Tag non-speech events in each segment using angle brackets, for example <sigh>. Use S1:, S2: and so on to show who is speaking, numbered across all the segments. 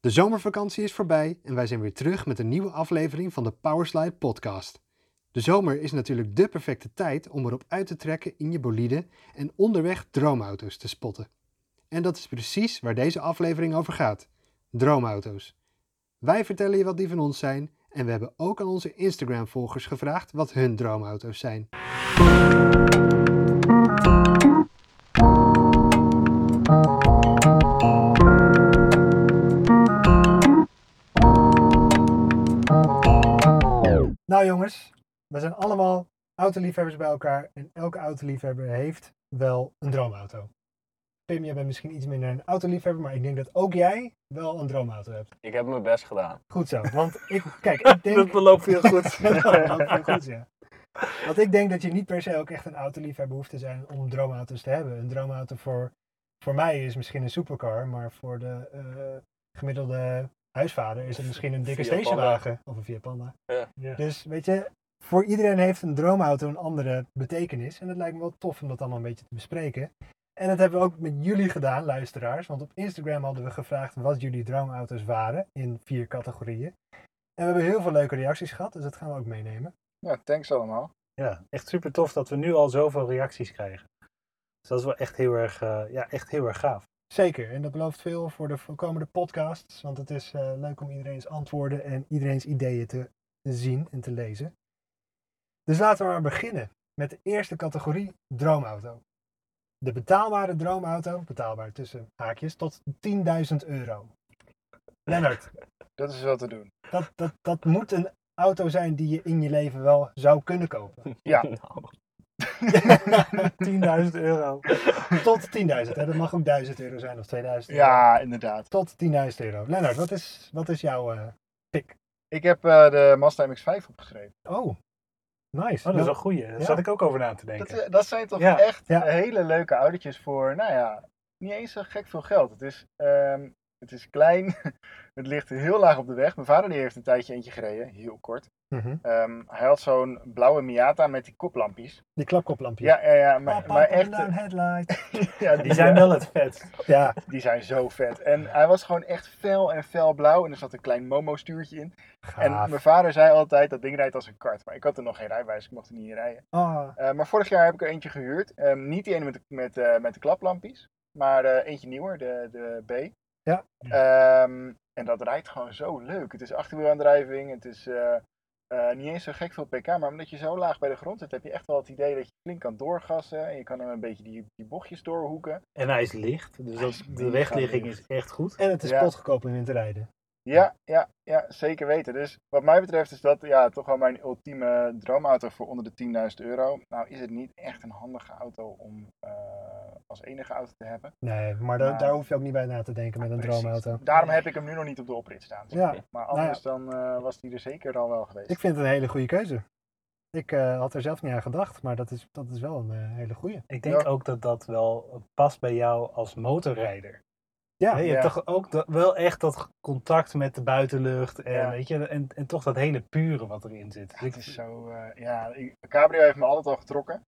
S1: De zomervakantie is voorbij en wij zijn weer terug met een nieuwe aflevering van de Powerslide podcast. De zomer is natuurlijk dé perfecte tijd om erop uit te trekken in je bolide en onderweg droomauto's te spotten. En dat is precies waar deze aflevering over gaat: droomauto's. Wij vertellen je wat die van ons zijn en we hebben ook aan onze Instagram-volgers gevraagd wat hun droomauto's zijn. Nou jongens, we zijn allemaal autoliefhebbers bij elkaar en elke autoliefhebber heeft wel een droomauto. Pim, jij bent misschien iets minder een autoliefhebber, maar ik denk dat ook jij wel een droomauto hebt.
S2: Ik heb mijn best gedaan.
S1: Goed zo, want ik, kijk,
S2: <laughs>
S1: ik denk...
S2: beloopt heel goed.
S1: Ja, <laughs> dat loopt heel goed, ja. Want ik denk dat je niet per se ook echt een autoliefhebber hoeft te zijn om droomauto's te hebben. Een droomauto voor, voor mij is misschien een supercar, maar voor de eh, gemiddelde huisvader is het
S2: <laughs>
S1: misschien een dikke
S2: Fiat Panda.
S1: stationwagen of een Fiat Panda.
S2: Ja.
S1: Dus weet je, voor iedereen heeft een droomauto een andere betekenis. En het lijkt me wel tof om dat allemaal een beetje te bespreken. En dat hebben we ook met jullie gedaan, luisteraars. Want op Instagram hadden we gevraagd wat jullie droomauto's waren in vier categorieën. En we hebben heel veel leuke reacties gehad, dus dat gaan we ook meenemen.
S2: <laughs> ja, thanks allemaal.
S3: Ja, echt super tof dat we nu al zoveel reacties krijgen. Dus dat is wel echt heel erg, eh, ja, echt heel erg <laughs> gaaf.
S1: Zeker, en dat belooft veel voor de voor komende podcasts. Want het is eh, leuk om iedereen's antwoorden en iedereen's ideeën te zien en te lezen. Dus laten we maar beginnen met de eerste categorie droomauto. De betaalbare droomauto, betaalbaar tussen haakjes, tot 10.000 euro. Lennart,
S4: Dat is wel te doen.
S1: dat, dat, dat moet een auto zijn die je in je leven wel zou kunnen
S2: <laughs>
S1: kopen. <laughs>
S4: Ja.
S2: Nou,
S3: 10.000 euro.
S1: Tot 10.000, hè? dat mag ook 1000 euro zijn of 2000 euro.
S4: Ja, inderdaad.
S1: Tot 10.000 euro. Lennart, wat is, wat is jouw eh, pick?
S4: Ik heb eh, de Mazda MX-5 opgeschreven.
S1: Oh, nice.
S3: Oh, dat is wel een goeie. Daar
S1: Ja.
S3: zat ik ook over na te denken.
S4: Dat, eh, dat zijn toch
S3: Ja.
S4: echt
S1: Ja.
S4: hele leuke autootjes voor, nou ja, niet eens zo gek veel geld. Het is, ehm, het is klein, <laughs> het ligt heel laag op de weg. Mijn vader die heeft een tijdje eentje gereden, heel kort.
S1: Mhm.
S4: Ehm, hij had zo'n blauwe Miata met die koplampjes.
S1: Die klapkoplampjes.
S4: Ja, ja, ja, maar,
S1: Papa,
S4: maar
S1: put
S4: echt,
S1: down headlight.
S4: ja,
S3: Die zijn wel het vetst.
S1: <laughs> Ja,
S4: die zijn zo vet. En hij was gewoon echt fel en felblauw en er zat een klein Momo-stuurtje in. En
S1: gaaf.
S4: mijn vader zei altijd, dat ding rijdt als een kart. Maar ik had er nog geen rijbewijs, ik mocht er niet in rijden.
S1: Ah,
S4: Eh, maar vorig jaar heb ik er eentje gehuurd. Ehm, niet die ene met de, met, eh, met de klaplampjes, maar eh, eentje nieuwer, de, de B.
S1: Ja.
S4: Ehm, en dat rijdt gewoon zo leuk. Het is achterwielaandrijving, het is eh, eh, niet eens zo gek veel pk, maar omdat je zo laag bij de grond zit, heb je echt wel het idee dat je flink kan doorgassen en je kan hem een beetje die, die bochtjes doorhoeken.
S3: En hij is licht, dus dat,
S4: is
S3: de
S4: mega
S3: wegligging
S4: licht.
S3: is echt goed.
S1: en het is
S4: Ja.
S1: potgekoop om in te rijden.
S4: Ja, ja, ja, zeker weten. Dus wat mij betreft is dat ja, toch wel mijn ultieme droomauto voor onder de 10.000 euro. Nou is het niet echt een handige auto om eh, als enige auto te hebben.
S1: Nee, maar da-
S4: Ja. Ah,
S1: daar hoef je ook niet bij na te denken met een
S4: Precies.
S1: droomauto.
S4: Daarom heb ik hem nu nog niet op de oprit staan.
S1: Ja,
S4: Maar anders dan eh, was die er zeker al wel geweest.
S1: ik vind het een hele goede keuze. Ik eh, had er zelf niet aan gedacht, maar dat is, dat is wel een eh, hele goede.
S3: Ik denk
S4: Ja.
S3: ook dat dat wel past bij jou als motorrijder.
S1: Ja,
S3: Hè, je
S4: ja.
S3: hebt toch ook dat- wel echt dat contact met de buitenlucht en,
S4: Ja.
S3: weet je, en, en toch dat hele pure wat erin zit. Dus
S4: Het
S3: ik-
S4: is zo, eh, ja, ik- Cabrio heeft me altijd al getrokken.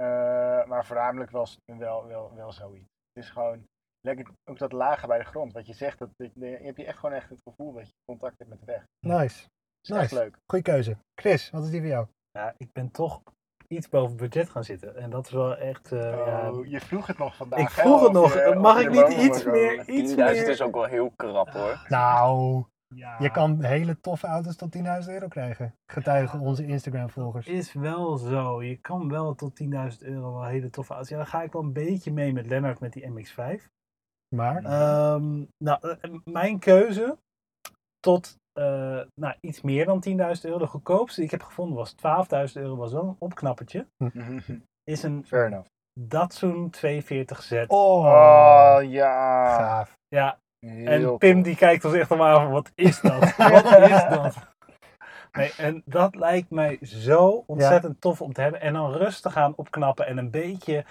S4: Eh, maar voornamelijk wel, wel, wel, wel zoiets. Het is gewoon lekker, ook dat lagen bij de grond. Wat je zegt, dat, dat- je heb je echt gewoon echt het gevoel dat je contact hebt met de weg.
S1: nice.
S4: Dat is echt
S1: Nice.
S4: leuk.
S1: Goeie keuze. Chris, wat is die voor jou?
S3: Ja, ik ben toch iets boven budget gaan zitten. En dat is wel echt. eh, ja,
S4: Oh, je vroeg het nog vandaag.
S3: ik
S4: hè,
S3: vroeg het
S4: of
S3: nog.
S4: je- of
S3: Mag
S4: je
S3: ik niet
S4: bomen
S3: iets
S4: wil
S3: meer?
S4: komen.
S3: Iets
S2: 10.000
S3: meer?
S2: is ook wel heel krap
S1: <laughs>
S2: hoor.
S4: Ah.
S1: Nou,
S3: Ja,
S1: je kan hele toffe auto's tot 10.000 euro krijgen. Getuigen onze Instagram-volgers.
S3: Is wel zo. Je kan wel tot 10.000 euro wel hele toffe auto's. Ja, daar ga ik wel een beetje mee met Lennart met die MX5.
S4: Ah.
S1: Maar,
S3: Ehm, nou, eh, mijn keuze tot eh, nou, iets meer dan 10.000 euro. De goedkoopste die ik heb gevonden was 12.000 euro. Was wel een opknappertje. Is een
S4: <laughs> Fair enough.
S3: Datsun 240Z.
S1: oh,
S4: Oh, ja.
S1: gaaf.
S3: Ja,
S4: Heel
S3: En Pim
S4: tof.
S3: die kijkt ons echt allemaal van, wat
S4: <laughs>
S3: is dat? Wat is dat? Nee, en dat lijkt mij zo ontzettend tof om te hebben. En dan rustig aan opknappen en een beetje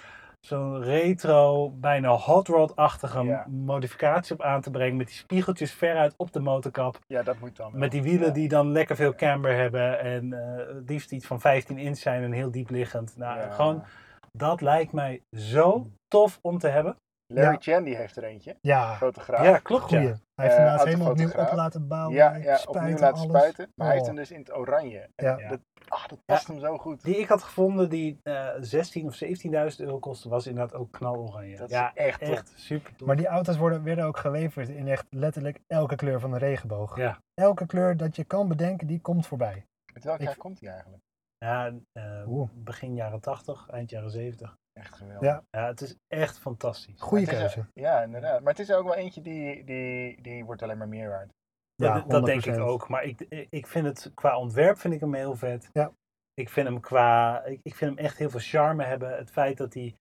S3: zo'n retro, bijna hot rod-achtige
S4: Ja.
S3: modificatie op aan te brengen. Met die spiegeltjes veruit op de motorkap.
S4: Ja, dat moet dan wel.
S3: Met die wielen
S4: Ja.
S3: die dan lekker veel camber hebben. En eh, het liefst iets van 15 inch zijn en heel diep liggend. Nou,
S4: Ja.
S3: gewoon, dat lijkt mij zo tof om te hebben.
S4: Larry
S1: Ja.
S4: Chan die heeft er eentje.
S1: Ja,
S4: Fotograaf.
S3: Ja, klopt.
S1: goeie.
S3: Ja.
S1: Hij heeft
S4: Eh,
S1: inderdaad helemaal opnieuw op
S4: autofotograaf.
S1: laten bouwen.
S4: ja,
S1: hij
S4: ja
S1: spuiten,
S4: opnieuw laten
S1: alles.
S4: spuiten. Maar hij heeft
S1: Oh.
S4: hem dus in het oranje. En
S1: Ja.
S4: Dat, ah, dat past hem zo goed.
S3: Die ik had gevonden, die eh 16 of 17.000 euro kostte, was inderdaad ook knaloranje.
S4: Dat is
S3: ja,
S4: echt tof.
S3: echt super tof.
S1: Maar die auto's worden, werden ook geleverd in echt letterlijk elke kleur van de regenboog.
S3: Ja.
S1: Elke kleur dat je kan bedenken, die komt voorbij.
S4: Met welk
S1: Ik-
S4: jaar komt hij eigenlijk?
S3: Ja, eh,
S1: Oeh.
S3: begin jaren 80, eind jaren 70.
S4: Echt geweldig.
S1: Ja.
S3: Ja, het is echt fantastisch.
S1: Goeie
S4: Het is-
S1: keuze.
S4: Ja, inderdaad. Maar het is ook wel eentje die, die, die wordt alleen maar meer waard.
S1: Ja,
S3: dat, dat denk ik
S1: 100%.
S3: ook. Maar ik, ik vind het qua ontwerp vind ik hem heel vet.
S1: Ja.
S3: Ik vind hem qua. Ik, ik vind hem echt heel veel charme hebben. Het feit dat hij.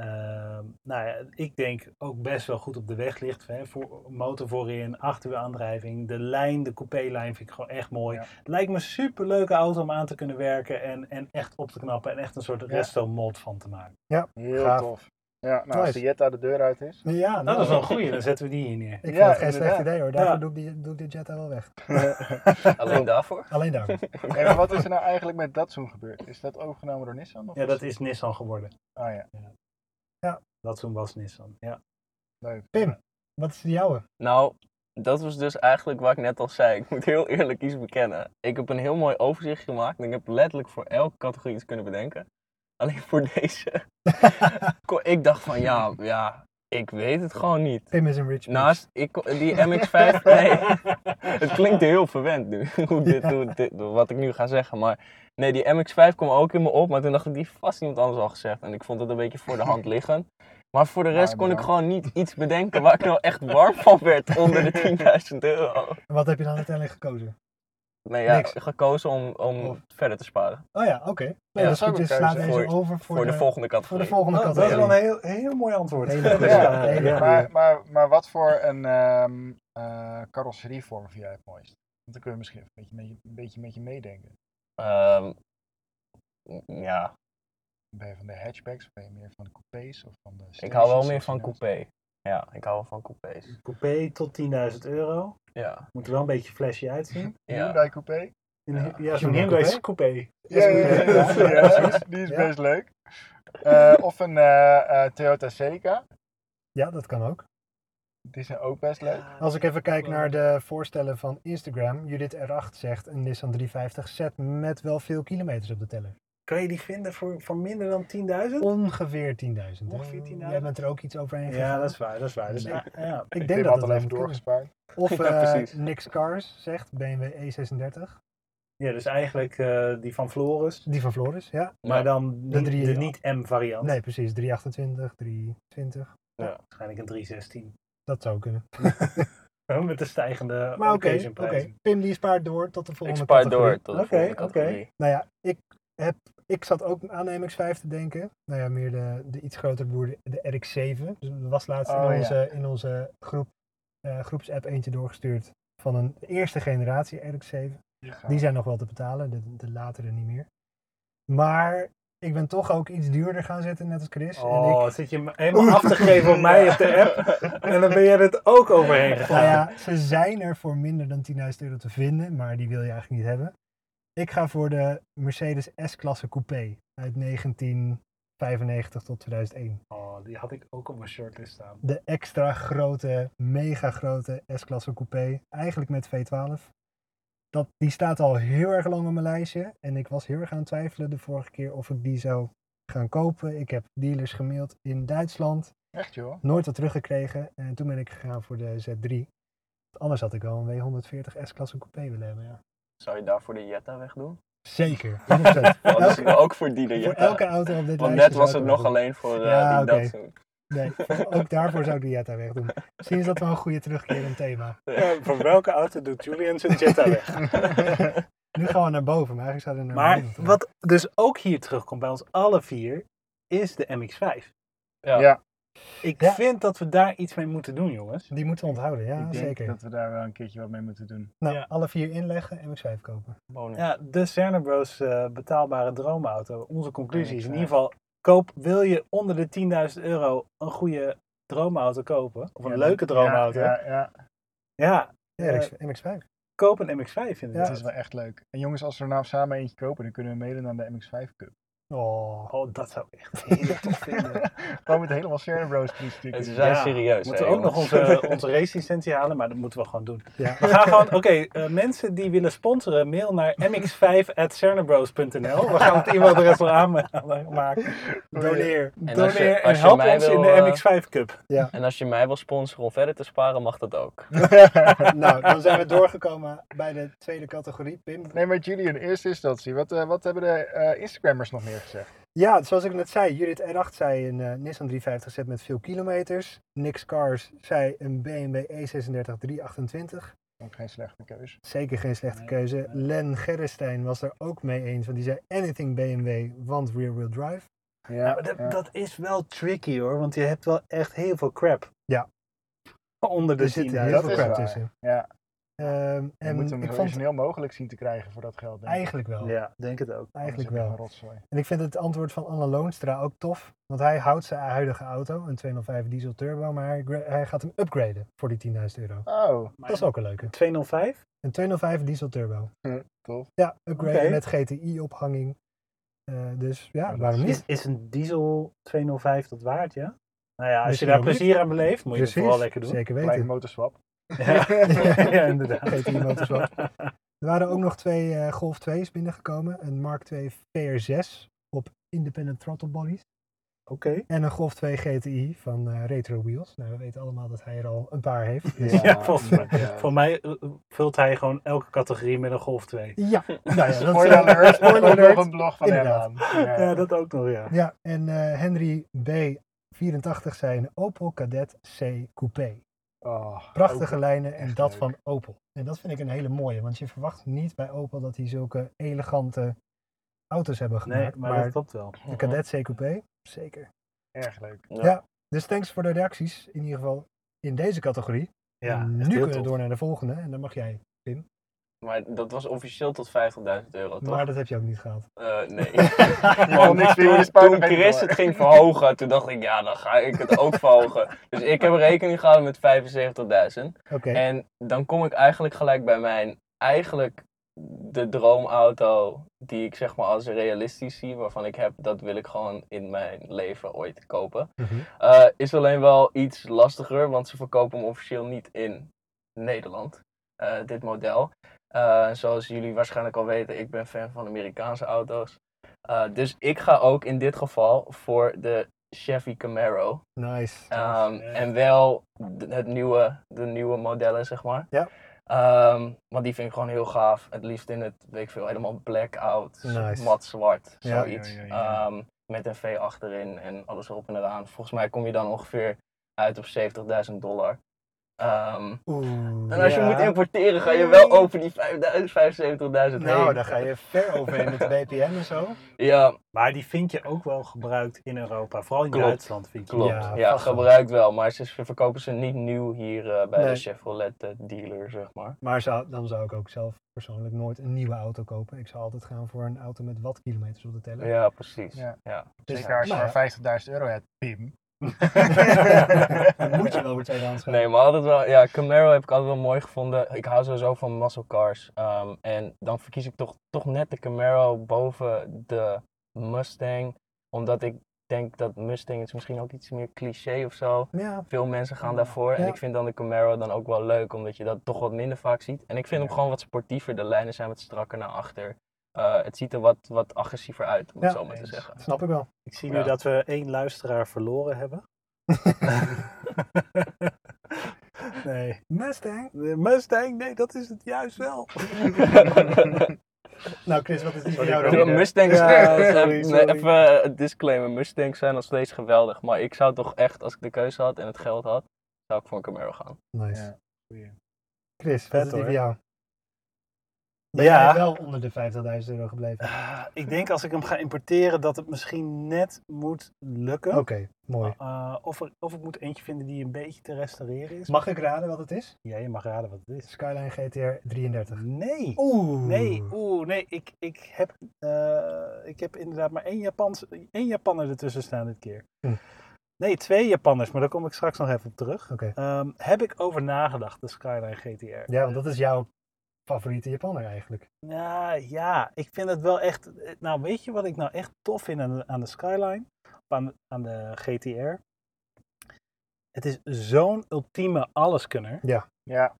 S3: ehm, nou ja, ik denk ook best wel goed op de weg ligt. Hè? Voor, motor voorin, achterwiel aandrijving. De lijn, de coupé-lijn vind ik gewoon echt mooi.
S4: Ja.
S3: Het lijkt me een super leuke auto om aan te kunnen werken. En, en echt op te knappen. En echt een soort resto-mod van te maken.
S4: Heel
S1: Gaaf.
S4: tof. Ja, nou,
S1: Nice.
S4: als de Jetta de deur uit
S1: <laughs>
S4: is.
S1: Ja, nou,
S3: Nou, dat is wel een goeie. <laughs> Dan zetten we die hier neer.
S1: Ik
S4: Ja,
S1: vind het geen slecht
S4: inderdaad.
S1: idee hoor. Daarvoor
S3: Ja.
S1: doe, ik die, doe ik dit Jetta wel weg.
S2: Alleen daarvoor?
S1: Alleen
S3: <laughs>
S1: daarvoor.
S4: Hey, maar wat is er nou eigenlijk met Datsun gebeurd? Is dat overgenomen door Nissan? Of
S3: Ja, dat is Nissan geworden.
S4: Ah ja,
S3: Dat toen was Nissan. Ja.
S4: leuk.
S1: Pim, wat is de jouwe?
S2: Nou, dat was dus eigenlijk wat ik net al zei. Ik moet heel eerlijk iets bekennen. Ik heb een heel mooi overzicht gemaakt. En ik heb letterlijk voor elke categorie iets kunnen bedenken. Alleen voor <laughs> deze. kon- ik dacht van ja, ja, ik weet het gewoon niet.
S1: Pim is een rich bitch. <laughs>
S2: Naast ik, kon- die MX5, nee, het klinkt heel verwend nu, <laughs> hoe dit, hoe dit- wat ik nu ga zeggen. Maar nee, die MX5 kwam ook in me op, maar toen dacht ik, die heeft vast iemand anders al gezegd. En ik vond het een beetje voor de hand liggen. Maar voor de rest
S4: Ja,
S2: kon ik
S4: bedankt.
S2: gewoon niet iets bedenken waar ik nou echt warm van werd onder de 10.000 euro.
S1: En <laughs> Wat heb je dan uiteindelijk gekozen?
S2: Nee, ja,
S1: Niks.
S2: gekozen om,
S1: Of-
S2: om verder te sparen
S1: Oh ja, oké. Nee,
S2: Ja,
S1: dat is
S4: dat
S1: goed.
S4: is ook
S1: Je
S4: een
S1: slaat
S4: keuze.
S1: deze
S2: Voor-
S1: over voor,
S2: voor de,
S1: de,
S2: volgende
S1: voor de
S2: categorie.
S1: volgende
S3: Oh, Dat, dat is
S1: categorie.
S3: wel een heel, heel mooi antwoord. <laughs>
S1: Hele goede
S4: Ja,
S1: vraag. Hele
S3: ja.
S1: goede.
S4: Maar, maar, maar wat voor een ehm eh carrosserievorm vind jij het mooist? Want dan kun je misschien een beetje, met je- een beetje met je meedenken.
S2: Ehm, ja,
S4: Ben je van de hatchbacks, of ben je meer van de coupés of van de
S2: ik hou wel
S4: stations
S2: meer
S4: of
S2: van
S4: inderdaad-
S2: coupé. Ja, ik hou wel van coupés.
S3: Coupé tot 10.000 euro.
S2: Ja,
S3: Moet er wel een beetje flashy uitzien.
S2: ja.
S4: nou- Hyundai coupé.
S3: Ja, zo'n
S1: Hyundai
S3: Hyundai coupé.
S4: Ja, ja, ja, ja,
S1: Ja,
S4: ja, precies. die is
S1: Ja.
S4: best leuk. Eh, of een eh, eh, Toyota Celica.
S1: Ja, dat kan ook.
S4: Die zijn ook best leuk.
S1: Als ik even kijk naar de voorstellen van Instagram, Judith R8 zegt een Nissan 350 Z met wel veel kilometers op de teller.
S3: Kan je die vinden voor, voor minder dan 10.000?
S1: Ongeveer 10.000. hè?
S3: Ongeveer 10.000.
S1: Jij bent er ook iets overheen gegaan.
S3: Ja, dat is waar, dat is waar. Dus,
S1: Nee.
S3: ja, ja.
S1: Ik
S4: Pim
S1: denk dat
S4: had
S1: dat
S4: al even
S1: wel moet kunnen.
S4: doorgespaard.
S1: Of
S2: Ja,
S1: eh,
S2: precies.
S1: Nix Cars zegt BMW E36.
S3: ja, dus eigenlijk eh, die van Floris.
S1: Die van Floris, ja.
S3: Maar dan
S1: De
S3: niet- de,
S1: drie-
S3: niet-M-variant.
S1: Nee, precies. 328, 320.
S3: Waarschijnlijk een 316.
S1: Dat zou kunnen.
S3: Huh, Met de stijgende
S1: Maar oké,
S3: occasion
S1: oké.
S3: prijzen.
S1: Pim die spaart door tot de
S2: Ik
S1: volgende
S2: spaar
S1: categorie.
S2: door tot de
S3: Oké,
S2: volgende
S3: oké.
S2: categorie.
S1: Nou ja, ik, heb, ik zat ook aan de MX-5 te denken. Nou ja, meer de, de iets grotere broer, de- de RX-7. Dus dat was laatst
S4: Oh,
S1: in
S4: ja.
S1: onze, in onze groep, eh, groepsapp eentje doorgestuurd van een eerste generatie RX-7. Die zijn nog wel te betalen, de, de latere niet meer. Maar ik ben toch ook iets duurder gaan zitten, net als Chris.
S3: Oh,
S1: en ik,
S3: zit je me helemaal af te geven op mij op de
S1: <laughs>
S3: app. En dan ben jij het ook overheen gegaan.
S1: nou ja, ze zijn er voor minder dan 10.000 euro te vinden, maar die wil je eigenlijk niet hebben. Ik ga voor de Mercedes S-klasse coupé uit 1995 tot 2001.
S3: Oh, die had ik ook op mijn shortlist staan.
S1: De extra grote, mega grote S-klasse coupé, eigenlijk met V12. Dat, die staat al heel erg lang op mijn lijstje. En ik was heel erg aan het twijfelen de vorige keer of ik die zou gaan kopen. Ik heb dealers gemaild in Duitsland,
S4: Echt joh.
S1: nooit wat teruggekregen. En toen ben ik gegaan voor de Z3. Want Anders had ik wel een W140 S-klasse coupé willen hebben. Ja.
S2: Zou je daarvoor de Jetta wegdoen?
S1: <laughs> Zeker. 100%.
S2: <laughs> Want dat is
S1: Elke-
S2: ook voor die de
S1: voor
S2: Jetta.
S1: elke auto op dit lijstje.
S2: Want net
S1: zou
S2: was
S1: ik
S2: het
S1: hem
S2: nog
S1: doen.
S2: alleen voor eh,
S1: Ja,
S2: die
S1: oké.
S2: Datsun.
S1: Nee, ook daarvoor zou ik de Jetta wegdoen. Misschien is dat wel een goede terugkerend thema.
S3: Eh, voor welke auto doet Julian zijn Jetta weg?
S1: Nu gaan we naar boven, maar eigenlijk zouden we naar
S3: Maar
S1: beneden.
S3: wat dus ook hier terugkomt bij ons alle vier, is de MX5.
S2: Ja.
S4: Ja.
S3: Ik
S1: Ja.
S3: vind dat we daar iets mee moeten doen, jongens.
S1: Die moeten we onthouden, ja,
S4: ik denk
S1: zeker.
S4: dat we daar wel een keertje wat mee moeten doen.
S1: Nou,
S3: Ja.
S1: alle vier inleggen en MX-5 kopen.
S2: Bonus.
S3: Ja, de Cerner Bros eh, betaalbare droomauto. Onze conclusie is in
S4: MX-5.
S3: ieder geval, koop, wil je onder de 10.000 euro een goede droomauto kopen, of een
S4: Ja,
S3: leuke droomauto, ja,
S4: Ja, ja, ja.
S1: Ja,
S3: Eh,
S1: RX MX-5.
S3: koop een MX-5 inderdaad.
S4: <laughs> Het is wel echt leuk. En jongens, als we er nou samen eentje kopen, dan kunnen we meedoen aan de MX5 Cup.
S1: Oh,
S3: Oh, dat zou ik echt heel tof vinden.
S4: Gewoon met helemaal Sharon Bros.
S2: En
S4: <laughs> stickers.
S2: ze zijn
S3: Ja,
S2: serieus.
S3: Moeten
S2: hè,
S3: we ook nog
S2: jongens. <laughs>
S3: onze, onze race-licentie halen, maar dat moeten we gewoon doen.
S1: ja.
S3: We gaan gewoon, oké, eh, mensen die willen sponsoren, mail naar mx5.cernabros.nl. We gaan het e-mailadres wel aanmaken.
S1: Doneer.
S2: En als je-
S3: <laughs> Doneer en
S2: als je
S3: help
S2: mij
S3: ons
S2: wil,
S3: in de
S2: eh,
S3: MX5 Cup.
S2: En als je mij wil sponsoren om verder te sparen, mag dat ook.
S1: nou, dan zijn we doorgekomen bij de tweede categorie, Pim.
S4: Nee, maar Julian, eerst instantie. Wat, eh, wat hebben de eh, Instagrammers nog meer gezegd?
S1: Ja, zoals ik net zei, Judith R8 zei een eh, Nissan 350 Z met veel kilometers. Nix Cars zei een BMW E36 328.
S4: Ook geen slechte keuze.
S1: Zeker geen slechte
S3: Nee,
S1: keuze.
S3: nee.
S1: Len Gerrestein was er ook mee eens, want die zei anything BMW, want rear-wheel drive.
S3: Ja, maar dat, dat is wel tricky hoor, want je hebt wel echt heel veel crap.
S1: Ja.
S3: Onder de
S1: Er zit
S3: 10.000.
S1: heel
S4: dat
S1: veel
S4: is
S1: crap
S4: waar.
S1: tussen.
S4: Ja.
S1: Ehm,
S4: Je moet
S1: en
S4: hem
S1: ik
S4: zo
S1: vond het
S4: snel mogelijk zien te krijgen voor dat geld. denk ik.
S1: eigenlijk wel.
S3: Ja, denk het ook.
S1: Eigenlijk
S4: Anders heb je
S1: wel.
S4: gewoon Rotzooi.
S1: En ik vind het antwoord van Anne Loonstra ook tof. Want hij houdt zijn huidige auto, een 205 diesel turbo, maar hij, gra- hij gaat hem upgraden voor die 10.000 euro.
S4: Oh,
S1: Dat is ook een leuke.
S3: 205?
S1: Een 205 diesel turbo.
S4: tof.
S1: Ja, upgraden
S3: Oké.
S1: met GTI-ophanging. Eh, dus ja,
S4: dat
S1: waarom
S3: Is,
S1: niet?
S3: is een diesel 205 dat waard, ja? Nou ja, als
S1: Misschien
S3: je daar
S1: wel niet.
S3: plezier aan beleeft, moet je het vooral lekker doen.
S1: zeker
S4: Kleine
S1: weten.
S4: motorswap.
S3: <laughs> Ja, ja, inderdaad.
S1: GTI
S3: <laughs>
S1: motorswap. Er waren ook nog twee eh, Golf 2's binnengekomen. Een Mark II VR6 op independent throttle bodies.
S3: Oké.
S1: En een Golf 2 GTI van eh, Retro Wheels. Nou, we weten allemaal dat hij er al een paar heeft. Dus
S3: Ja, volgens mij.
S4: Ja.
S3: Voor mij eh, vult hij gewoon elke categorie met een Golf 2.
S1: <laughs> Ja, nou ja, dat,
S4: Spoiler
S1: eh,
S4: alert,
S1: spoiler
S4: ook
S1: alert.
S4: <laughs> nog een blog van hem aan.
S1: Inderdaad.
S4: Ja.
S3: Ja, dat ook nog, ja.
S1: <laughs> Ja, en eh, Henry B84 zei een Opel Cadet C Coupé.
S4: Oh,
S1: Prachtige
S4: ook-
S1: lijnen en
S4: echt
S1: dat
S4: leuk.
S1: van Opel. En dat vind ik een hele mooie, want je verwacht niet bij Opel dat die zulke elegante auto's hebben
S3: Nee,
S1: gemaakt.
S3: maar, dat klopt wel.
S1: de Cadet C Coupé, zeker.
S4: Erg leuk.
S2: Ja.
S1: Ja. Dus thanks voor de reacties, in ieder geval in deze categorie. En
S3: Ja, echt
S1: nu
S3: heel
S1: kunnen we
S3: tof.
S1: door naar de volgende en dan mag jij.
S2: Maar dat was officieel tot 50.000 euro, toch?
S1: Maar dat heb je ook niet gehad.
S2: Eh, nee.
S4: Je
S2: <laughs>
S4: wil niks meer in de spouw,
S2: Toen
S4: dan ben je
S2: Chris
S4: door.
S2: het ging verhogen, toen dacht ik, ja, dan ga ik het ook verhogen. Dus ik heb rekening gehouden met 75.000.
S1: Oké,
S2: En dan kom ik eigenlijk gelijk bij mijn, eigenlijk de droomauto die ik zeg maar als realistisch zie, waarvan ik heb, dat wil ik gewoon in mijn leven ooit kopen.
S1: Mhm.
S2: Eh, is alleen wel iets lastiger, want ze verkopen hem officieel niet in Nederland, eh, dit model. Eh, zoals jullie waarschijnlijk al weten, ik ben fan van Amerikaanse auto's. Eh, dus ik ga ook in dit geval voor de Chevy Camaro.
S1: nice.
S2: Ehm, en wel d- het nieuwe, de nieuwe modellen, zeg maar.
S1: Ja.
S2: Ehm, want die vind ik gewoon heel gaaf. Het liefst in het, weet ik veel, helemaal blackout,
S1: Nice.
S2: mat zwart,
S1: Ja,
S2: zoiets.
S4: ja, ja, ja.
S2: Ehm, met een V achterin en alles erop en eraan. Volgens mij kom je dan ongeveer uit op 70.000 dollar. Ehm,
S1: Oeh.
S2: en als
S3: Ja.
S2: je moet importeren, ga je wel over die 5000, 75.000
S1: Nou,
S2: heen.
S1: daar ga je ver overheen met de BPM en zo.
S2: Ja,
S3: Maar die vind je ook wel gebruikt in Europa. Vooral in
S2: Klopt.
S3: Duitsland vind je.
S2: Klopt,
S1: Ja,
S2: ja,
S1: vast wel.
S2: gebruikt wel, maar ze ze verkopen ze niet nieuw hier eh, bij
S1: Nee.
S2: de Chevrolet eh, dealer, zeg maar.
S1: Maar zou, dan zou ik ook zelf persoonlijk nooit een nieuwe auto kopen. Ik zou altijd gaan voor een auto met wat kilometers op de teller.
S2: Ja, precies.
S4: Ja.
S2: Ja.
S4: Zeker als je
S1: Nou ja.
S4: maar 50.000 euro hebt, Pim.
S1: Dan <laughs> moet je wel weer tweedehands gaan.
S2: Nee, maar altijd wel, ja, Camaro heb ik altijd wel mooi gevonden. Ik hou sowieso van muscle cars. ehm, en dan verkies ik toch, toch net de Camaro boven de Mustang. Omdat ik denk dat Mustang is misschien ook iets meer cliché of zo.
S1: Ja,
S2: Veel mensen gaan daarvoor.
S1: Ja.
S2: En ik vind dan de Camaro dan ook wel leuk, omdat je dat toch wat minder vaak ziet. En ik vind
S4: Ja.
S2: hem gewoon wat sportiever. De lijnen zijn wat strakker naar achter. Eh, het ziet er wat, wat agressiever uit, om het
S1: Ja.
S2: zo maar te zeggen.
S1: snap ik wel.
S3: Ik zie
S2: Ja.
S3: nu dat we één luisteraar verloren hebben. nee.
S1: Mustang.
S3: De Mustang, nee, dat is het juist wel.
S1: <laughs> Nou Chris, wat is die voor
S4: Sorry,
S1: jou
S4: bro.
S2: De
S1: dan?
S4: Ja,
S2: <laughs> Mustangs,
S3: sorry,
S2: eh,
S3: sorry.
S2: nee, even eh, disclaimer, Mustangs zijn nog steeds geweldig. Maar ik zou toch echt, als ik de keuze had en het geld had, zou ik voor een Camaro gaan.
S1: Nice.
S4: Ja, goeie.
S1: Chris, wat
S3: Vet,
S1: is die voor
S3: hoor.
S1: jou? Ben
S3: Ja.
S1: jij wel onder de 50.000 euro gebleven?
S3: Ah, ik denk als ik hem ga importeren dat het misschien net moet lukken.
S1: Oké, mooi.
S3: Eh, of, er- of ik moet eentje vinden die een beetje te restaureren is.
S1: Mag ik raden wat het is?
S3: Ja, je mag raden wat het is.
S1: Skyline GTR 33.
S3: Nee.
S1: Oeh.
S3: Nee, oeh, nee. Ik, ik, heb, eh, ik heb inderdaad maar één, Japans, één Japanner ertussen staan dit keer.
S1: Hm.
S3: Nee, twee Japanners, maar daar kom ik straks nog even op terug.
S1: Oké.
S3: Ehm, heb ik over nagedacht, de Skyline GTR.
S1: Ja, want dat is jouw favoriete Japanner eigenlijk.
S3: Nou ja, ik vind het wel echt. Nou, weet je wat ik nou echt tof vind aan de, aan de Skyline? Of aan, de- aan de GTR? Het is zo'n ultieme alleskunner.
S4: Ja, ja.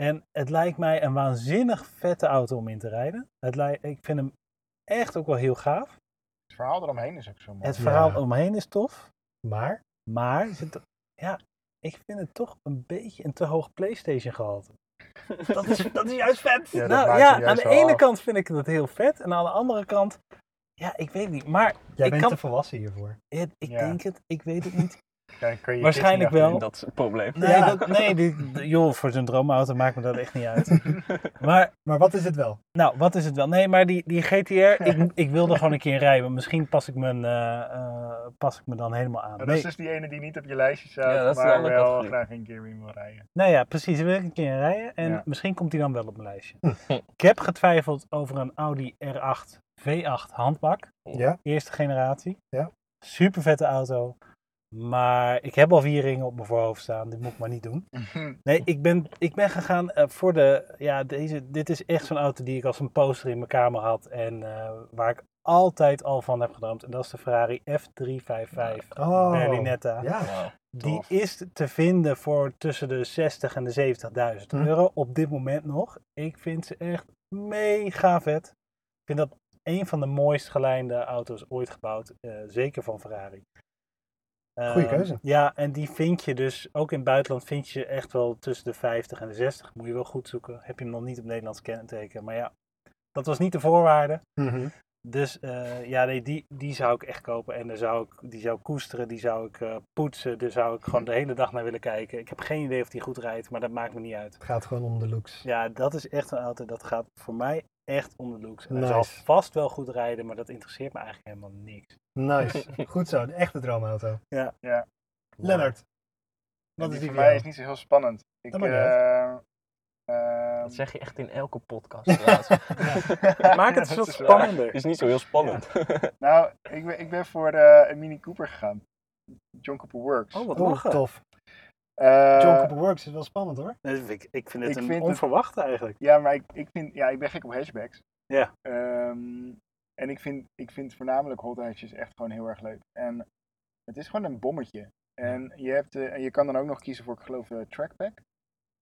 S3: En het lijkt mij een waanzinnig vette auto om in te rijden. Het lij- ik vind hem echt ook wel heel gaaf.
S4: Het verhaal eromheen is ook zo mooi.
S3: Het verhaal
S1: Ja.
S3: omheen is tof.
S1: Maar
S3: Maar is het- ja, ik vind het toch een beetje een te hoog PlayStation gehalte. <laughs> Dat is, dat is
S2: <laughs>
S3: juist vet.
S4: Ja, dat
S3: nou
S4: maakt
S3: ja,
S4: hem
S3: aan
S4: juist
S3: de
S4: wel
S3: ene
S4: af.
S3: kant vind ik dat heel vet. En aan de andere kant, ja, ik weet niet. Maar
S1: jij
S3: Ik
S1: bent
S3: kan-
S1: te volwassen hiervoor.
S3: het- ik
S4: Ja.
S3: denk het, ik weet het
S4: <laughs>
S3: niet.
S4: Dan kun je
S3: Waarschijnlijk wel.
S4: kids niet
S2: Dat is het probleem.
S3: Nee,
S1: Ja.
S3: dat, nee die- die- joh, voor zo'n droomauto maakt me dat echt niet
S4: <laughs>
S3: uit. Maar,
S1: Maar wat is het wel?
S3: nou, wat is het wel? Nee, maar die, die GTR,
S4: <laughs>
S3: ik, ik wil er gewoon een keer rijden. Misschien pas ik, mijn, eh, eh, pas ik me dan helemaal aan.
S4: achter- Dat
S3: Nee.
S4: is dus die ene die niet op je lijstje
S2: Ja, dat is
S4: staat,
S2: een
S4: maar
S2: andere
S4: wel
S2: categorie.
S4: graag een keer weer wil rijden.
S3: Nou ja, precies. Dan wil ik een keer rijden. En
S4: Ja.
S3: misschien komt hij dan wel op mijn lijstje. <laughs> ik heb getwijfeld over een Audi R8 V8 handbak.
S1: Ja.
S3: Eerste generatie.
S1: Ja.
S3: Super vette auto. Maar ik heb al vier ringen op mijn voorhoofd staan. Dit moet ik maar niet doen. Nee, ik ben, ik ben gegaan eh, voor de... Ja, deze, dit is echt zo'n auto die ik als een poster in mijn kamer had. En eh, waar ik altijd al van heb gedroomd. En dat is de Ferrari F355
S1: Oh.
S3: Berlinetta.
S1: Ja.
S3: Die
S4: Tof.
S3: is te vinden voor tussen de 60 en de 70.000
S1: Hm.
S3: euro op dit moment nog. Ik vind ze echt mega vet. Ik vind dat een van de mooist gelijnde auto's ooit gebouwd. eh, zeker van Ferrari.
S1: Goeie
S3: Eh,
S1: keuze.
S3: Ja, en die vind je dus, ook in het buitenland vind je ze echt wel tussen de 50 en de 60. Moet je wel goed zoeken. Heb je hem nog niet op Nederlands kenteken. Maar ja, dat was niet de voorwaarde.
S1: Mhm.
S3: Dus eh, ja, nee, die, die zou ik echt kopen. En daar zou ik, die zou ik koesteren, die zou ik eh, poetsen. Daar zou ik gewoon de hele dag naar willen kijken. Ik heb geen idee of die goed rijdt, maar dat maakt me niet uit.
S1: Het gaat gewoon om de looks.
S3: Ja, dat is echt een auto. Dat gaat voor mij echt om de looks. En hij
S1: Nice.
S3: zal vast wel goed rijden, maar dat interesseert me eigenlijk helemaal niks.
S4: <laughs>
S1: Nice. Goed zo, de echte droomauto.
S4: Ja.
S1: Lennart. Wat is
S4: die
S1: die
S4: voor
S1: voor
S4: mij
S1: jou?
S4: is niet zo heel spannend. Ik,
S1: Dat maakt niet
S4: eh, eh,
S2: Dat zeg je echt in elke <laughs> podcast. trouwens.
S1: <laughs>
S4: <laughs>
S3: Maak het
S4: Ja,
S2: <laughs>
S3: wat
S4: dat is waar.
S3: spannender.
S2: Het dus is niet zo heel spannend.
S4: Nou, ik ben, ik ben voor eh, een Mini Cooper gegaan. John Cooper Works.
S3: Oh, wat
S1: Oh,
S3: lachen.
S1: tof.
S4: Eh,
S1: John Cooper Works is wel spannend hoor.
S3: Nee, dat vind ik, ik vind het
S4: Ik
S3: een
S4: vind het-
S3: onverwachte eigenlijk.
S4: Ja, maar ik, ik, vind, ja, ik ben gek op hatchbacks.
S3: Ja.
S4: Ehm, en ik vind, ik vind voornamelijk hot hatches echt gewoon heel erg leuk. En het is gewoon een bommetje. En je, hebt, eh, en je kan dan ook nog kiezen voor, ik geloof, eh, trackback.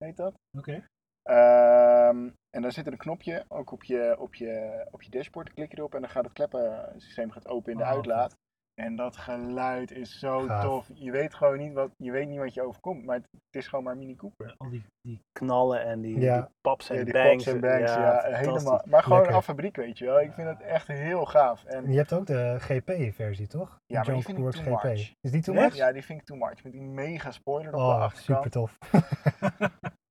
S4: Heet dat?
S1: Oké.
S4: Ehm, en daar zit een knopje, ook op je, op je, op je dashboard. Klik je erop en dan gaat het kleppensysteem gaat open in de
S1: Oh,
S4: uitlaat. En dat geluid is zo
S1: Gaaf.
S4: tof. Je weet gewoon niet wat je, weet niet wat je overkomt, maar het, het is gewoon maar Mini Cooper.
S3: Al die, die knallen en die,
S1: Ja.
S3: die paps en
S4: Ja, die
S3: bangs.
S4: pops en bangs, ja, helemaal.
S3: fantastisch.
S4: Maar gewoon
S1: Lekker.
S4: af fabriek, weet je wel. Ik vind het echt heel gaaf. En
S1: Je hebt ook de GP-versie toch? De
S4: maar die
S1: John
S4: vind
S1: Cooper
S4: ik
S1: Works
S4: too
S1: GP.
S4: much.
S1: Is die too
S3: Echt?
S1: much?
S4: ja, die vind ik too much. Met die mega spoiler op de
S1: Oh,
S4: achterkant.
S1: super tof.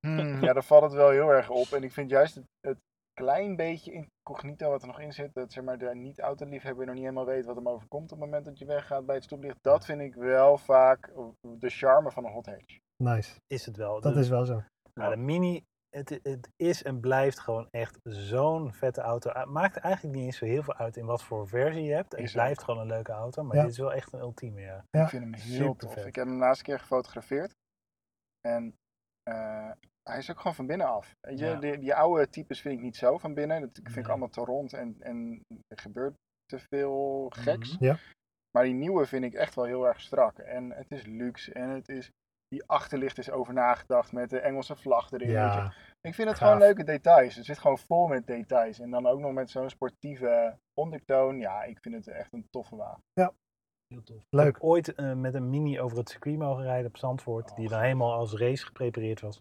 S4: Hmm, ja, daar valt het wel heel erg op. En ik vind juist het, het klein beetje incognito wat er nog in zit, dat zeg maar, de niet-autoliefhebber nog niet helemaal weet wat hem overkomt op het moment dat je weggaat bij het stoplicht. Dat vind ik wel vaak de charme van een hot hatch.
S1: Nice.
S3: Is het wel.
S1: Dat
S3: Dus-
S1: is wel zo.
S3: Nou, de Mini, het, het is en blijft gewoon echt zo'n vette auto. Het maakt eigenlijk niet eens zo heel veel uit in wat voor versie je hebt. Het
S4: Is
S3: blijft gewoon een leuke auto, maar
S1: Ja.
S3: dit is wel echt een ultieme, ja.
S1: Ja,
S4: ik vind hem heel tof.
S3: supervet.
S4: Ik heb hem de laatste keer gefotografeerd. En eh, hij is ook gewoon van binnen af. Weet je,
S3: Ja.
S4: die, die oude types vind ik niet zo van binnen. Dat vind
S3: Nee.
S4: ik allemaal te rond en, en er gebeurt te veel geks.
S3: Mhm.
S1: Ja.
S4: Maar die nieuwe vind ik echt wel heel erg strak. En het is luxe en het is... Die achterlicht is over nagedacht met de Engelse vlag erin. weet je.
S1: Ja,
S4: Ik vind
S1: gaaf.
S4: het gewoon leuke details. Het zit gewoon vol met details. En dan ook nog met zo'n sportieve ondertoon. Ja, ik vind het echt een toffe wagen.
S3: Heel tof.
S1: leuk.
S3: Ooit eh, met een Mini over het circuit mogen rijden op Zandvoort, die dan helemaal als race geprepareerd was.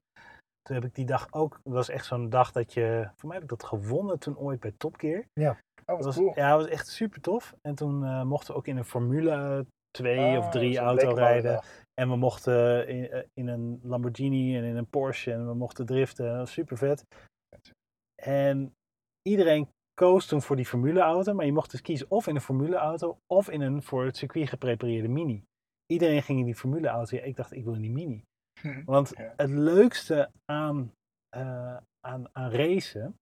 S3: Toen heb ik die dag ook, dat was echt zo'n dag dat je, voor mij heb ik dat gewonnen toen ooit bij Top Gear.
S4: Oh,
S3: Dat
S4: wat
S3: was,
S4: cool.
S3: Ja, dat was echt super tof. En toen eh, mochten we ook in een Formule 2 of
S4: Ah,
S3: 3
S4: zo'n
S3: auto
S4: lekker mooie
S3: rijden.
S4: dag.
S3: En we mochten in, eh, in een Lamborghini en in een Porsche en we mochten driften. Dat was super vet. En iedereen koos toen voor die formuleauto, maar je mocht dus kiezen of in een formuleauto of in een voor het circuit geprepareerde mini. Iedereen ging in die formuleauto. Ja, ik dacht, ik wil in die mini.
S4: Hm.
S3: Want
S4: Ja.
S3: het leukste aan, eh, aan, aan racen,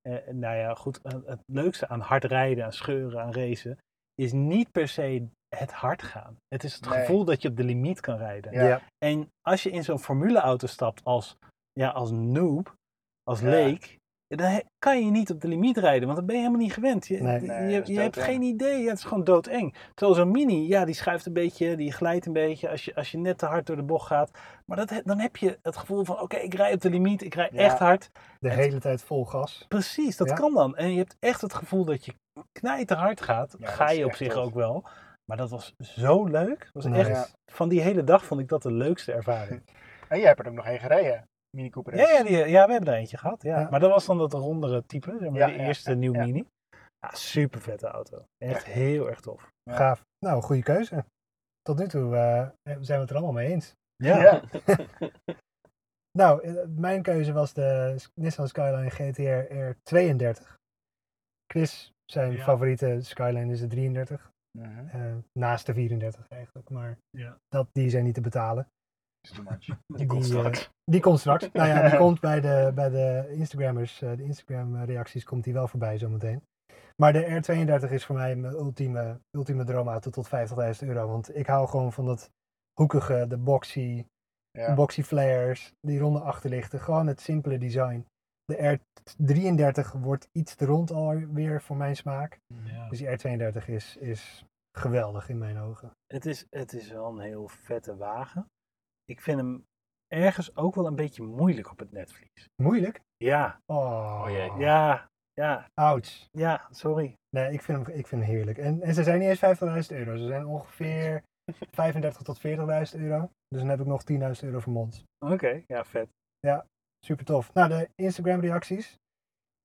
S3: eh, nou ja, goed, eh, het leukste aan hard rijden, aan scheuren, aan racen, is niet per se het hard gaan. Het is het
S4: Nee.
S3: gevoel dat je op de limiet kan rijden.
S4: Ja.
S1: Ja.
S3: En als je in zo'n formuleauto stapt als, ja, als noob, als
S4: Ja.
S3: leek, Dan he- kan je niet op de limiet rijden, want dan ben je helemaal niet gewend. Je,
S1: Nee.
S3: je-
S4: Nee, dat is
S3: je, hebt
S4: doodeng.
S3: geen idee, ja, het is gewoon doodeng. Terwijl zo'n mini, ja, die schuift een beetje, die glijdt een beetje als je, als je net te hard door de bocht gaat. Maar dat, he- dan heb je het gevoel van, oké, ik rij op de limiet, ik rij
S4: Ja.
S3: echt hard.
S1: De
S3: Het-
S1: hele tijd vol gas.
S3: Precies, dat
S1: Ja.
S3: kan dan. En je hebt echt het gevoel dat je knijterhard gaat.
S4: Ja,
S3: Ga
S4: dat is
S3: je op
S4: echt
S3: zich
S4: tof.
S3: ook wel. Maar dat was zo leuk. Dat was
S1: Nou,
S3: echt,
S4: ja.
S3: van die hele dag vond ik dat de leukste ervaring.
S4: En jij hebt er ook nog één gereden, Mini Cooper.
S3: Ja, ja, die- ja, we hebben er eentje gehad. Ja.
S1: Ja.
S3: Maar dat was dan dat rondere type, zeg maar,
S4: Ja,
S3: de
S4: ja,
S3: eerste nieuw
S4: ja.
S3: mini. Ja, super vette auto. Echt heel erg tof.
S4: Ja.
S1: Gaaf. Nou, goede keuze. Tot nu toe eh, zijn we het er allemaal mee eens.
S3: Ja.
S4: Ja.
S1: Nou, eh, mijn keuze was de S- Nissan Skyline GTR R32. Chris, zijn
S3: Ja.
S1: favoriete Skyline is de 33.
S4: Mhm.
S1: Eh, naast de 34 eigenlijk, maar
S3: Ja.
S1: dat, die zijn niet te betalen.
S4: Is too much.
S2: <laughs> Die komt
S1: eh,
S2: straks.
S1: die komt straks. nou ja, die komt bij de, bij de Instagrammers, eh, de Instagram reacties komt die wel voorbij zometeen. Maar de R32 is voor mij mijn ultieme, ultieme droomauto tot 50.000 euro. Want ik hou gewoon van dat hoekige, de boxy,
S4: Ja.
S1: boxy flares, die ronde achterlichten. Gewoon het simpele design. De R33 wordt iets te rond alweer voor mijn smaak.
S3: Ja.
S1: Dus die R32 is, is geweldig in mijn ogen.
S3: Het, is, het is wel een heel vette wagen. Ik vind hem ergens ook wel een beetje moeilijk op het netvlies.
S1: Moeilijk.
S3: Ja,
S1: Oh,
S2: Oh jee.
S3: ja, ja,
S1: Ouch.
S3: ja, sorry.
S1: Nee, ik vind hem, ik vind hem heerlijk. En, en ze zijn niet eens 50.000 euro. Ze zijn ongeveer 35 tot 40.000 euro. Dus dan heb ik nog 10.000 euro voor mond.
S3: Oké, ja, vet.
S1: Super tof. Nou, de Instagram reacties.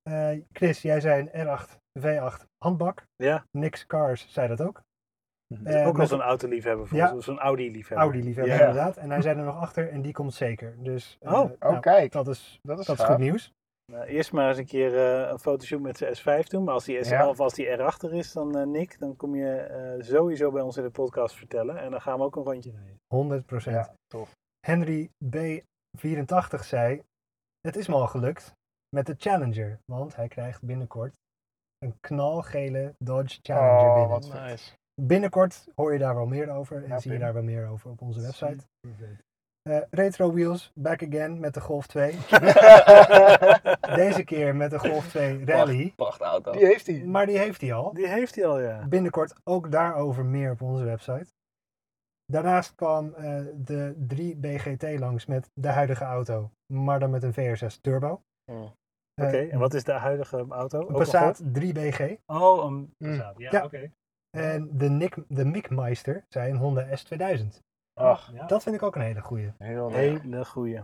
S1: Eh, Chris, jij zei een R8, V8 handbak.
S3: Ja.
S1: Nix Cars zei dat ook.
S3: Dat is
S1: Eh,
S3: Mhm. ook wel
S1: met-
S3: zo'n autoliefhebber voor
S1: Ja.
S3: ons, zo'n Audi-liefhebber.
S1: Audi liefhebber
S4: Ja.
S1: inderdaad. En hij zei er nog achter en die komt zeker. Dus eh,
S3: Oh,
S1: nou,
S4: Oh, kijk.
S1: dat is,
S4: Dat is,
S1: dat is
S4: gaaf.
S1: goed nieuws.
S3: Nou, eerst maar eens een keer eh, een fotoshoot met zijn S5 doen. Maar als die, S
S4: Ja.
S3: of als die erachter is, dan eh, Nick, dan kom je eh, sowieso bij ons in de podcast vertellen. En dan gaan we ook een rondje rijden.
S1: 100 procent.
S4: Ja, tof.
S1: Henry B84 zei: Het is me al gelukt met de Challenger, want hij krijgt binnenkort een knalgele Dodge Challenger
S4: Oh,
S1: binnen.
S4: wat
S2: <laughs> Nice.
S1: Binnenkort hoor je daar wel meer over en
S4: Ja,
S1: zie je
S4: Pim.
S1: daar wel meer over op onze website. Eh, retro Wheels, back again met de Golf
S4: <laughs>
S1: 2. Deze keer met de Golf 2 Rally,
S2: Pracht auto.
S4: Die heeft hij.
S1: maar die heeft hij al.
S3: Oh, Die heeft hij al, ja.
S1: Binnenkort ook daarover meer op onze website. Daarnaast kwam eh, de 3BGT langs met de huidige auto, maar dan met een VR6 Turbo.
S2: Mm.
S1: Eh,
S3: Oh, Oké, en wat is de huidige auto? Ook
S1: Een
S3: al
S1: Passat 3BG.
S3: goed? Oh, een
S4: Mm.
S3: Passat. Ja,
S1: Ja.
S3: oké.
S1: En de, Nick, de Mikmeister, zei een Honda S2000.
S4: Ach,
S3: Ja.
S1: Dat vind ik ook een hele goeie.
S4: heel leuk.
S3: Hele goeie.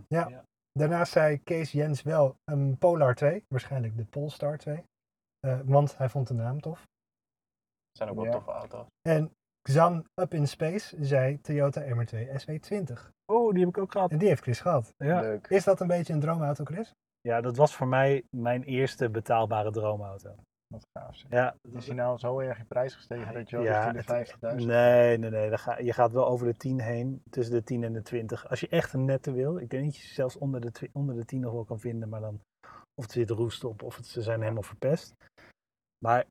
S1: Daarnaast zei Kees Jens wel een Polar 2, waarschijnlijk de Polestar 2. eh, want hij vond de naam tof.
S2: Zijn ook wel
S4: Ja.
S2: toffe auto's.
S1: En Xan Up in Space zei Toyota MR2 SW20.
S3: Oh, die heb ik ook gehad.
S1: En die heeft Chris gehad.
S3: Ja.
S4: Leuk.
S1: Is dat een beetje een droomauto, Chris?
S3: ja, dat was voor mij mijn eerste betaalbare droomauto.
S4: Wat gaaf. zeg.
S3: Ja,
S4: Is hij nou zo erg in prijs gestegen dat je wel
S3: Ja,
S4: richting de 50.000?
S3: Nee, nee, nee. Dan ga, je gaat wel over de 10 heen. Tussen de 10 en de 20. Als je echt een nette wil. Ik denk dat je ze zelfs onder de, twi- onder de 10 nog wel kan vinden. Maar dan. Of er zit roest op. Of het, ze zijn helemaal verpest. Maar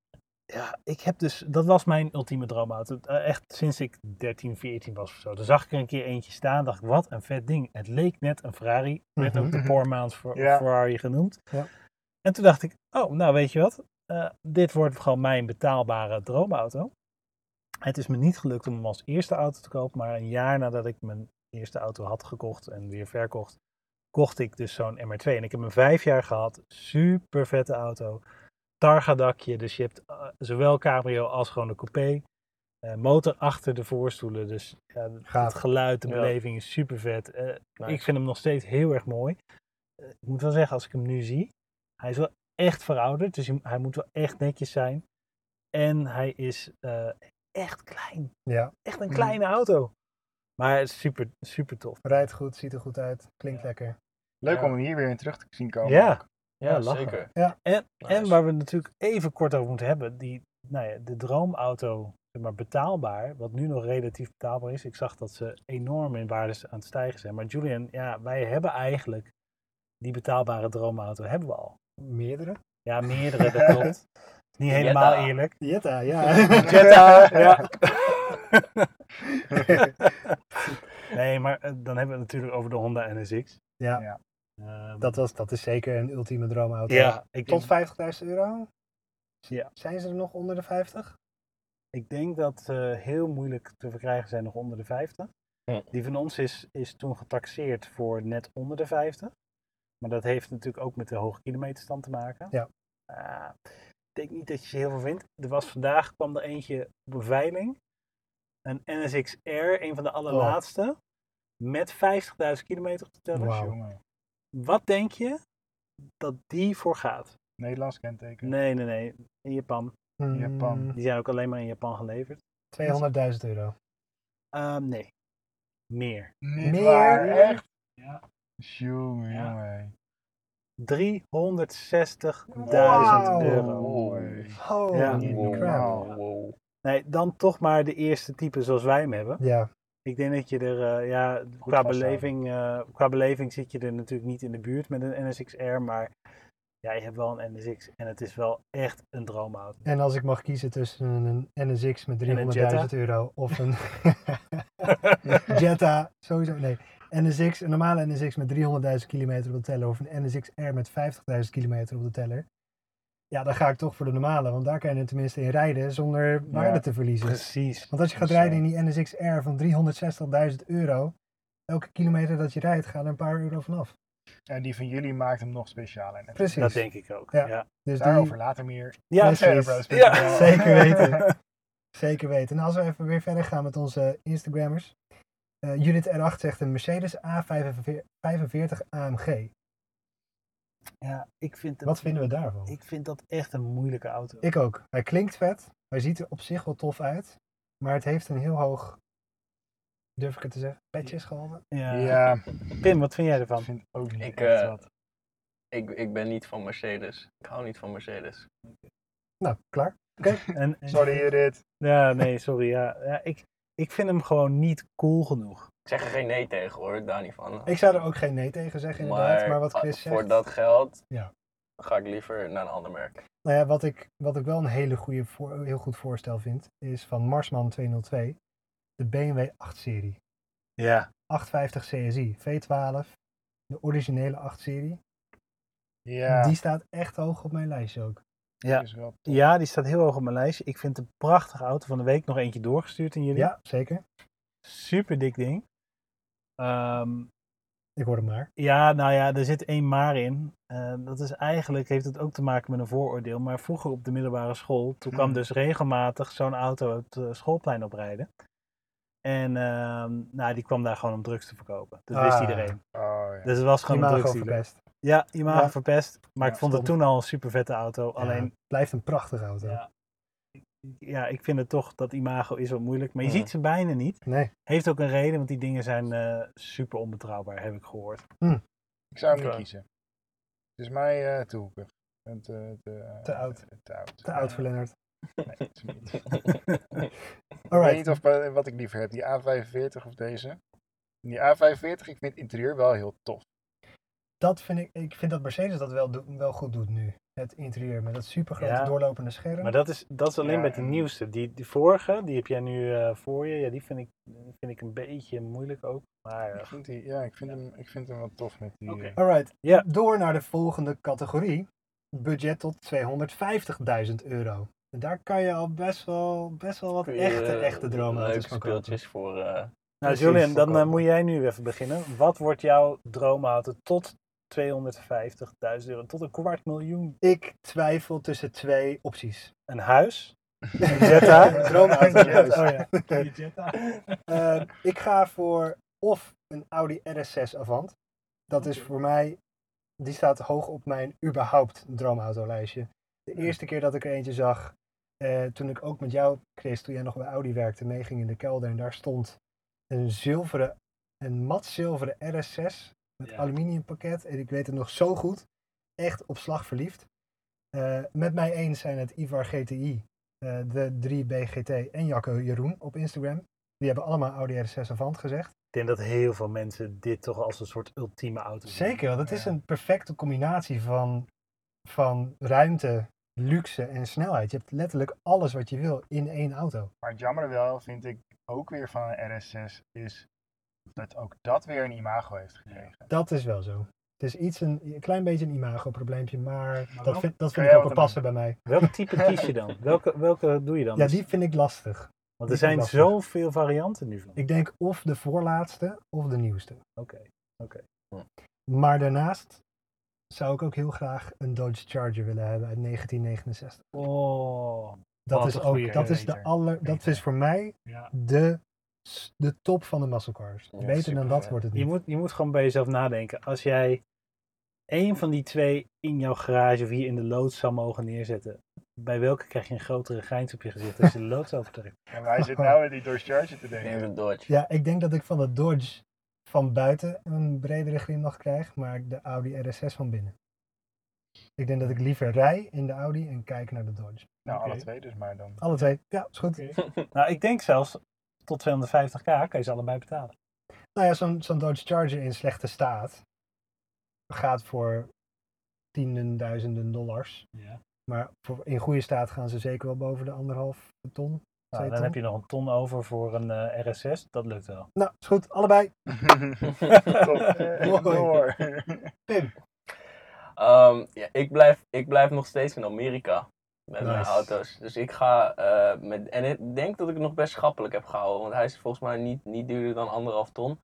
S3: ja, ik heb dus. Dat was mijn ultieme droomauto. Eh, Echt sinds ik 13, 14 was of zo. Toen zag ik er een keer eentje staan. Dacht ik, wat een vet ding. Het leek net een Ferrari. Werd ook de
S4: Mhm.
S3: Poor Man's Fer-
S4: Ja.
S3: Ferrari genoemd.
S1: Ja.
S3: En toen dacht ik, oh, nou weet je wat. Eh, dit wordt gewoon mijn betaalbare droomauto. Het is me niet gelukt om hem als eerste auto te kopen, maar een jaar nadat ik mijn eerste auto had gekocht en weer verkocht, kocht ik dus zo'n MR2. En ik heb hem vijf jaar gehad. Super vette auto. Targa-dakje, dus je hebt eh, zowel cabrio als gewoon een coupé. Eh, motor achter de voorstoelen, dus ja,
S1: Gaaf.
S3: het geluid, de
S2: Ja.
S3: beleving is super vet.
S2: Nice.
S3: Ik vind hem nog steeds heel erg mooi. Eh, ik moet wel zeggen, als ik hem nu zie, hij is wel echt verouderd, dus hij- hij moet wel echt netjes zijn. En hij is eh, echt klein.
S1: Ja.
S3: Echt een
S4: Mhm.
S3: kleine auto. Maar het is super, super tof.
S1: Rijdt goed, ziet er goed uit, klinkt
S3: Ja.
S1: lekker.
S4: Leuk
S2: Ja.
S4: om hem hier weer in terug te zien komen.
S3: Ja.
S2: Ja,
S3: lachen.
S2: zeker.
S3: En,
S2: Nice.
S3: en waar we het natuurlijk even kort over moeten hebben, die, nou ja, de droomauto, zeg maar betaalbaar, wat nu nog relatief betaalbaar is. Ik zag dat ze enorm in waarde aan het stijgen zijn. Maar Julian, ja, wij hebben eigenlijk die betaalbare droomauto hebben we al.
S1: Meerdere?
S3: Ja, meerdere, dat klopt. Niet helemaal
S2: Jetta.
S3: eerlijk.
S1: Jetta, ja. <laughs>
S3: Jetta, ja. nee, maar eh, dan hebben we het natuurlijk over de Honda NSX.
S1: Ja.
S4: Ja.
S3: Ehm,
S1: Dat, was, dat is zeker een ultieme droomauto.
S3: ja, ik,
S1: Tot
S3: ik,
S1: 50.000 euro?
S3: Ja.
S1: Zijn ze er nog onder de 50?
S3: ik denk dat ze heel moeilijk te verkrijgen zijn nog onder de 50.
S2: Hm.
S3: Die van ons is, is toen getaxeerd voor net onder de 50. Maar dat heeft natuurlijk ook met de hoge kilometerstand te maken.
S1: Ja.
S3: Ah, ik denk niet dat je ze heel veel vindt. Er was vandaag kwam er eentje op een veiling. Een NSXR, een van de allerlaatste. Met 50.000 kilometer op de teller.
S1: Wauw.
S4: Jongen,
S3: Wat denk je dat die voor gaat?
S4: <laughs> Nederlands kenteken.
S3: Nee, nee, nee. In Japan.
S4: Japan.
S1: Mm,
S3: Die zijn ook alleen maar in Japan geleverd.
S1: 200.000 euro.
S3: Ehm, nee. Meer.
S4: Niet
S1: Meer?
S4: waar, echt?
S3: Ja.
S4: Jongen,
S3: Ja.
S4: jongen.
S3: 360.000
S1: Wauw.
S3: euro.
S1: Holy
S3: Ja.
S1: crap.
S4: Wow.
S2: wow.
S3: Nee, dan toch maar de eerste type zoals wij hem hebben.
S1: Ja,
S3: Ik denk dat je er, eh, ja, qua
S4: vasthouden.
S3: beleving, eh, qua beleving zit je er natuurlijk niet in de buurt met een NSXR, maar ja, je hebt wel een NSX en het is wel echt een droomauto.
S1: en als ik mag kiezen tussen een NSX met
S3: En een Jetta?
S1: 300.000 euro of
S3: <laughs>
S1: een Jetta, sowieso nee. NSX, een normale NSX met 300.000 kilometer op de teller of een NSX-R met 50.000 kilometer op de teller. Ja, dan ga ik toch voor de normale, want daar kan je er tenminste in rijden zonder waarde te verliezen.
S3: Precies.
S1: Want als je gaat
S4: Precies.
S1: rijden in die NSX-R van 360.000 euro, elke kilometer dat je rijdt gaat er een paar euro vanaf.
S4: En die van jullie maakt hem nog specialer. En
S1: Precies.
S3: Dat denk ik ook.
S1: Ja.
S3: Ja, ja.
S1: Dus die,
S4: Daarover later meer.
S3: <laughs> ja,
S1: Precies.
S4: Cerebros.nl.
S1: Zeker
S3: <laughs>
S1: weten. Zeker weten. En als we even weer verder gaan met onze Instagrammers. Eh, Judith R8 zegt een Mercedes A45 AMG.
S3: ik vind
S1: Wat vinden we daarvan?
S3: Ik vind dat echt een moeilijke auto.
S1: Ik ook. Hij klinkt vet. Hij ziet er op zich wel tof uit. Maar het heeft een heel hoog, durf ik het te zeggen, petjesgehalte.
S3: ja.
S4: Ja,
S3: Pim, wat vind jij ervan?
S4: ik vind ook niet
S2: Ik,
S4: echt
S2: eh,
S4: wat.
S2: Ik, ik ben niet van Mercedes. Ik hou niet van Mercedes.
S1: Nou, klaar.
S3: En, en-
S4: Sorry Judith.
S3: Ja, nee, sorry. Ja, ja, ik, ik vind hem gewoon niet cool genoeg.
S2: Ik zeg er geen nee tegen hoor, daar niet van.
S1: Ik zou er ook geen nee tegen zeggen inderdaad. Maar, wat
S2: ah,
S1: Chris zegt,
S2: Voor dat geld
S1: Ja.
S2: ga ik liever naar een ander
S1: <laughs>
S2: merk.
S1: nou ja, wat, ik, wat ik wel een hele goede voor, heel goed voorstel vind, is van Marsman 202. De BMW 8-serie.
S3: Ja.
S1: 850 CSI, V12, de originele 8-serie.
S4: Ja,
S1: Die staat echt hoog op mijn lijstje ook.
S3: Ja.
S4: is wel tof.
S3: ja, die staat heel hoog op mijn lijstje. Ik vind het een prachtige auto. Van de week nog eentje doorgestuurd aan jullie.
S1: Ja, zeker.
S3: Super dik ding. Ehm,
S1: Ik hoor hem maar.
S3: ja, nou ja, er zit één maar in. Eh, dat is eigenlijk, heeft het ook te maken met een vooroordeel. Maar vroeger op de middelbare school, toen kwam
S4: Hmm.
S3: dus regelmatig zo'n auto het eh, schoolplein oprijden. En ehm, nou, die kwam daar gewoon om drugs te verkopen. Dat wist
S1: Ah.
S3: iedereen.
S4: Oh, ja.
S3: Dus het was gewoon een
S1: Imago
S3: drugsdealer.
S1: verpest.
S3: Ja, imago
S1: Ja.
S3: verpest. Maar
S4: Ja,
S3: ik vond het
S1: stom.
S3: toen al een super vette auto. Alleen,
S1: Blijft een prachtige auto.
S3: Ja. ja, ik vind het toch dat imago is wat moeilijk. Maar je
S2: Ja.
S3: ziet ze bijna niet.
S1: Nee.
S3: Heeft ook een reden, want die dingen zijn eh, super onbetrouwbaar, heb ik gehoord.
S4: Ik zou hem niet
S2: Oké.
S4: kiezen. Het is mij eh te hoekig. En te,
S1: Te oud.
S4: Te oud.
S1: Te oud voor Lennart.
S4: Nee, het is hem niet.
S1: <laughs>
S4: Ik weet
S1: Alright.
S4: niet of, eh, wat ik liever heb, die A45 of deze. En Die A45, ik vind het interieur wel heel tof.
S1: Dat vind ik, ik vind dat Mercedes dat wel, do- wel goed doet nu. Het interieur met dat supergrote
S3: Ja.
S1: doorlopende scherm.
S3: Maar dat is, dat is alleen
S4: Ja,
S3: bij de
S4: en-
S3: nieuwste. Die, die vorige, die heb jij nu eh, voor je. Ja, die vind ik, vind ik een beetje moeilijk ook. Maar
S4: Ik
S3: eh,
S4: vind die, ja, ik vind, Hem, ik vind hem wel tof met die.
S3: Oké.
S4: eh,
S1: Alright.
S3: Ja.
S1: Door naar de volgende categorie. Budget tot 250.000 euro. En daar kan je al best wel, best wel wat
S2: Kun je,
S1: echte,
S2: <laughs> eh,
S1: echte droomauto's
S2: Leuke
S1: van kopen.
S2: speeltjes voor... eh,
S3: nou,
S1: precies,
S3: Julian, dan eh,
S2: voorkomen.
S3: moet jij nu even beginnen. Wat wordt jouw droomauto tot 250.000 euro? Tot een kwart miljoen?
S1: Ik twijfel tussen twee opties.
S3: Een
S1: <laughs>
S3: huis?
S1: Een
S3: Jetta?
S1: droomauto. juist.
S3: Oh
S1: <laughs>
S3: ja.
S1: Eh, ik ga voor of een Audi RS6 Avant. Dat is voor mij, die staat hoog op mijn überhaupt droomautolijstje. De eerste keer dat ik er eentje zag, eh, toen ik ook met jou, Chris, toen jij nog bij Audi werkte, meeging in de kelder en daar stond een zilveren, een matzilveren RS6 met
S3: Ja.
S1: aluminiumpakket. En ik weet het nog zo goed, echt op slag verliefd. Eh, met mij eens zijn het Ivar GTI, eh, de 3BGT en Jacco Jeroen op Instagram. Die hebben allemaal Audi RS6 Avant gezegd.
S3: Ik denk dat heel veel mensen dit toch als een soort ultieme auto zien.
S1: Zeker, want het is een perfecte combinatie van, van ruimte, luxe en snelheid. Je hebt letterlijk alles wat je wil in één auto.
S4: Maar het jammer wel vind ik ook weer van een RS6 is dat ook dat weer een imago heeft gekregen.
S1: Dat is wel zo. Het is iets een, een klein beetje een imago-probleempje, maar, dat
S3: welke-
S1: vind, dat
S4: kan
S1: vind ik
S4: jij
S1: ook wel
S4: wat
S1: passen bij mij.
S3: Welk type kies je dan? Welke, welke doe je dan?
S1: Ja, die vind ik lastig.
S3: Want
S1: die
S3: er
S1: vind ik
S3: zijn
S1: lastig.
S3: zoveel varianten nu van.
S1: Ik denk of de voorlaatste of de nieuwste.
S3: Oké.
S1: Maar daarnaast zou ik ook heel graag een Dodge Charger willen hebben uit 1969.
S3: Oh.
S1: Dat
S3: Wat
S1: is
S3: een
S1: ook,
S3: goeie,
S1: dat is de
S3: beter,
S1: aller, dat
S3: beter.
S1: is voor mij
S3: Ja.
S1: de, s- de top van de muscle cars.
S2: Ja,
S1: Beter dan dat
S2: supervet.
S1: wordt het
S3: Je
S1: niet.
S3: moet, je moet gewoon bij jezelf nadenken. Als jij één van die twee in jouw garage of hier in de loods zou mogen neerzetten, bij welke krijg je een grotere grijns op je gezicht als je de loods overtrekt?
S4: En
S1: <laughs>
S4: wij zitten nou in die Dodge Charger te denken.
S2: Neem een Dodge.
S1: Ja, ik denk dat ik van de Dodge van buiten een bredere glimlach krijg, maar de Audi RS6 van binnen. Ik denk dat ik liever rij in de Audi en kijk naar de Dodge.
S4: Nou, alle
S3: Oké.
S4: twee dus
S1: <laughs>
S4: maar dan.
S1: Alle twee, ja, is goed.
S3: Nou, ik denk zelfs tot 250k kan je ze allebei betalen.
S1: Nou ja, zo'n zo'n Dodge Charger in slechte staat gaat voor tienden, duizenden dollars.
S3: Ja.
S1: Maar voor, in goede staat gaan ze zeker wel boven de anderhalf ton.
S3: Nou,
S1: Twee
S3: dan
S1: ton.
S3: heb je nog een ton over voor een eh, RS6. Dat lukt
S1: <laughs>
S3: wel.
S1: Nou, is goed. Allebei.
S4: Top. Eh,
S1: Mooi.
S4: Door.
S1: Pim.
S2: <laughs> Ehm, ja, ik, blijf, ik blijf nog steeds in Amerika met mijn
S1: Nice.
S2: auto's. Dus ik ga eh, met. En ik denk dat ik het nog best schappelijk heb gehouden. Want hij is volgens mij niet, niet duurder dan anderhalf ton.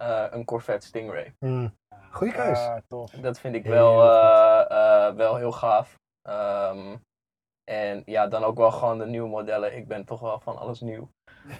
S2: Eh, een Corvette Stingray.
S1: Hmm. Goeie keus.
S2: Eh.
S4: Ah, tof.
S2: Dat vind ik
S1: Heel
S2: wel,
S1: goed.
S2: eh, eh, wel heel gaaf. Ehm, en ja, dan ook wel gewoon de nieuwe modellen. Ik ben toch wel van alles
S1: <laughs>
S2: nieuw.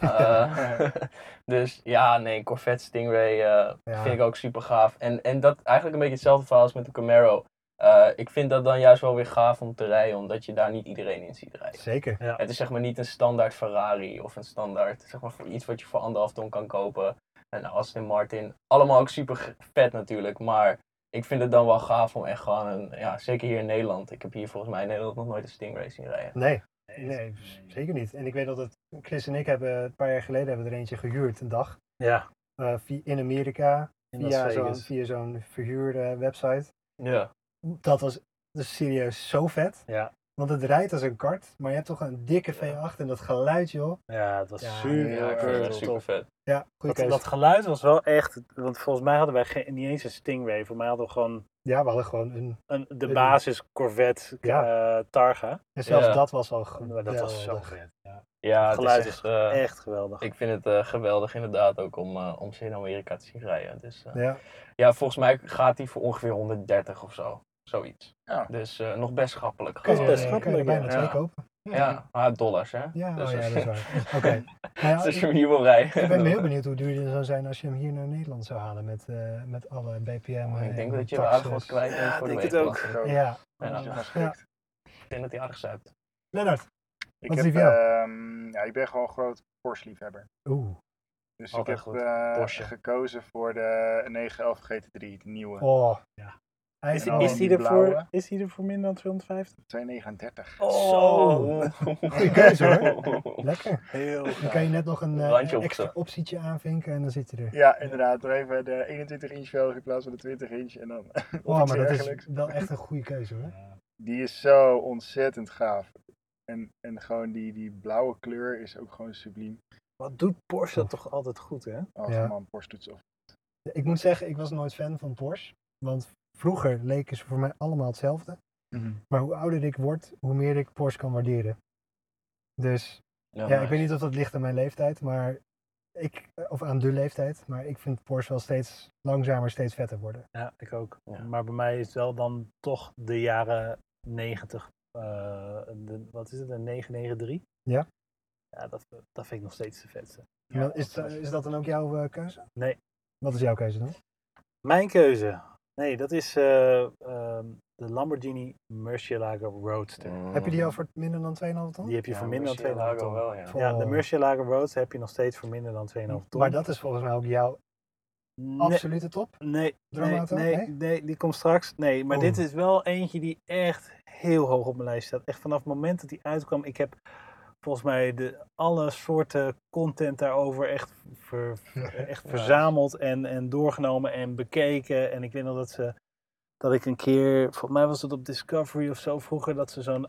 S2: Eh, <laughs> dus ja, nee, Corvette Stingray eh,
S1: Ja.
S2: vind ik ook super gaaf. En, en dat eigenlijk een beetje hetzelfde verhaal als met de Camaro. Eh, ik vind dat dan juist wel weer gaaf om te rijden, omdat je daar niet iedereen in ziet rijden.
S1: Zeker.
S2: Het is zeg maar niet een standaard Ferrari of een standaard, zeg maar voor iets wat je voor anderhalf ton kan kopen. En Aston Martin, allemaal ook super g- vet natuurlijk, maar ik vind het dan wel gaaf om echt gewoon, een, ja, zeker hier in Nederland. Ik heb hier volgens mij in Nederland nog nooit een Stingray zien rijden.
S1: Nee. Nee, zeker niet. En ik weet dat het, Chris en ik hebben een paar jaar geleden hebben we er eentje gehuurd, een dag.
S3: Ja.
S1: eh, via- in Amerika,
S3: In Las
S1: via zo'n
S3: Vegas.
S1: via zo'n verhuurde website.
S2: Ja.
S1: Dat was dus serieus zo vet.
S3: Ja.
S1: Want het rijdt als een kart, maar je hebt toch een dikke V8 en dat geluid, joh.
S3: Ja, het was
S1: Ja,
S3: super.
S2: Ja, ik vind het echt
S3: tof.
S2: super vet.
S1: Ja, goede
S3: Dat,
S1: keus.
S3: dat geluid was wel echt, want volgens mij hadden wij geen, niet eens een Stingray. Voor mij hadden we gewoon
S1: Ja, we hadden gewoon een...
S3: een, de
S1: Een-
S3: basis Corvette eh, Targa.
S1: En zelfs
S2: Ja.
S1: dat was al
S3: Maar dat was zo
S1: geweldig.
S3: vet. Ja.
S2: Ja,
S3: Het
S2: het is
S3: geluid
S2: echt, eh,
S3: Echt geweldig.
S2: Ik vind het eh, geweldig inderdaad ook om, eh, om ze in Amerika te zien rijden. Dus, eh,
S1: Ja.
S2: ja, volgens mij gaat die voor ongeveer 130 of zo. Zoiets.
S4: Ja.
S2: Dus eh, nog best schappelijk.
S1: Kun je,
S3: is
S2: gewoon.
S3: best
S1: eh,
S3: grappig,
S1: kun je er bijna
S3: ja.
S1: twee
S2: Ja.
S1: kopen.
S2: Ja, ah, dollars hè.
S1: Ja,
S2: Dus
S1: oh ja, dat
S2: als-
S1: is waar. Oké.
S3: <laughs>
S1: Nou ja,
S2: Dus als
S1: ik,
S2: je hem hier wil rijden. <laughs>
S1: ik ben heel benieuwd hoe duur die zou zijn als je hem hier naar Nederland zou halen met, eh, met alle BPM.
S2: Oh, Ik
S1: en
S2: denk dat je wel
S1: taxes.
S2: aardig wat kwijt bent
S3: Ja,
S2: voor
S3: denk
S2: de
S3: het ook.
S2: wegenbelasting.
S4: Zo.
S1: Ja,
S4: Als je
S2: Ja. nou,
S4: dan schrikt.
S2: Ik denk dat hij aardig zuipt.
S1: Lennart.
S4: Ik,
S1: Wat
S4: heb,
S1: lief jou?
S4: ehm, ja, ik ben gewoon een groot Porsche-liefhebber.
S1: Oeh.
S4: Dus
S2: Altijd
S4: ik heb
S2: goed.
S4: eh,
S2: Porsche.
S4: gekozen voor de 911 GT3, de nieuwe.
S1: Oh.
S3: Ja.
S1: Hij
S3: Is,
S1: is,
S4: al
S1: al-
S3: is, die
S4: die
S3: ervoor,
S4: blauwe.
S3: is die ervoor minder dan 250?
S4: 239.
S1: Zo. Goeie keuze,
S2: <laughs>
S1: hoor. lekker.
S3: Heel
S1: Dan kan je net nog een eh,
S2: Randje op
S1: extra
S2: zo.
S1: optietje aanvinken en dan zit hij er.
S4: Ja, inderdaad. Door even de 21 inch velg in plaats van de 20 inch. En dan <laughs>
S1: Oh, maar dat
S4: eigenlijk.
S1: is wel echt een goede keuze hoor.
S4: Die is zo ontzettend gaaf. En, en gewoon die, die blauwe kleur is ook gewoon subliem.
S3: Wat doet Porsche dat toch altijd goed, hè?
S4: Als
S1: Ja.
S4: een man Porsche doet zo.
S1: Ik moet zeggen, ik was nooit fan van Porsche. Want vroeger leken ze voor mij allemaal hetzelfde.
S2: Mhm.
S1: Maar hoe ouder ik word, hoe meer ik Porsche kan waarderen. Dus ja, ik weet niet of dat ligt aan mijn leeftijd, maar ik, of aan de leeftijd, maar ik vind Porsche wel steeds langzamer, steeds vetter worden.
S3: Ja, ik ook.
S2: Ja.
S3: Maar bij mij is het wel dan toch de jaren 90. eh, de, wat is het, een 993?
S1: Ja.
S3: Ja, dat, dat vind ik nog steeds de vetste.
S4: Ja,
S1: Wel, is,
S4: dat is-
S1: is dat dan ook jouw eh, keuze?
S3: Nee.
S1: Wat is jouw keuze dan?
S3: Mijn keuze. Nee, dat is eh, ehm, de Lamborghini Murcielago Roadster.
S1: Heb je die al voor minder dan 2,5 ton?
S3: Mm. Die heb je voor minder dan 2,5 ton.
S2: wel, ja.
S1: Voor-
S3: Ja, de Murcielago Roadster heb je nog steeds voor minder dan 2,5 ton.
S1: Maar dat is volgens mij ook jouw
S3: nee,
S1: absolute top.
S3: nee, nee,
S1: Droomauto?
S3: nee,
S1: Nee?
S3: nee, die komt straks. Nee, maar
S1: Oeh.
S3: dit is wel eentje die echt heel hoog op mijn lijst staat. Echt vanaf het moment dat die uitkwam, ik heb volgens mij de, alle soorten content daarover echt, ver- eh, echt verzameld en, en doorgenomen en bekeken. En ik weet nog dat ze dat ik een keer, volgens mij was het op Discovery of zo vroeger, dat ze zo'n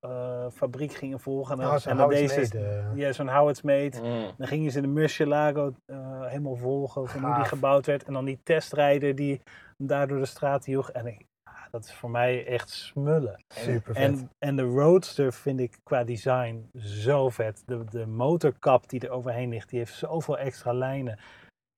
S3: autofabriek gingen volgen.
S1: Nou, ze
S3: en dat
S1: houden
S3: deze,
S1: het mede.
S3: ja, zo'n Howard's Made.
S2: Mm.
S3: Dan gingen ze de Murcielago eh helemaal volgen van hoe die
S1: Gaaf.
S3: gebouwd werd. En dan die testrijder die daar door de straat joeg. En ik, ah, dat is voor mij echt smullen.
S1: Super vet.
S3: En, en de Roadster vind ik qua design zo vet. De, de motorkap die er overheen ligt, die heeft zoveel extra lijnen.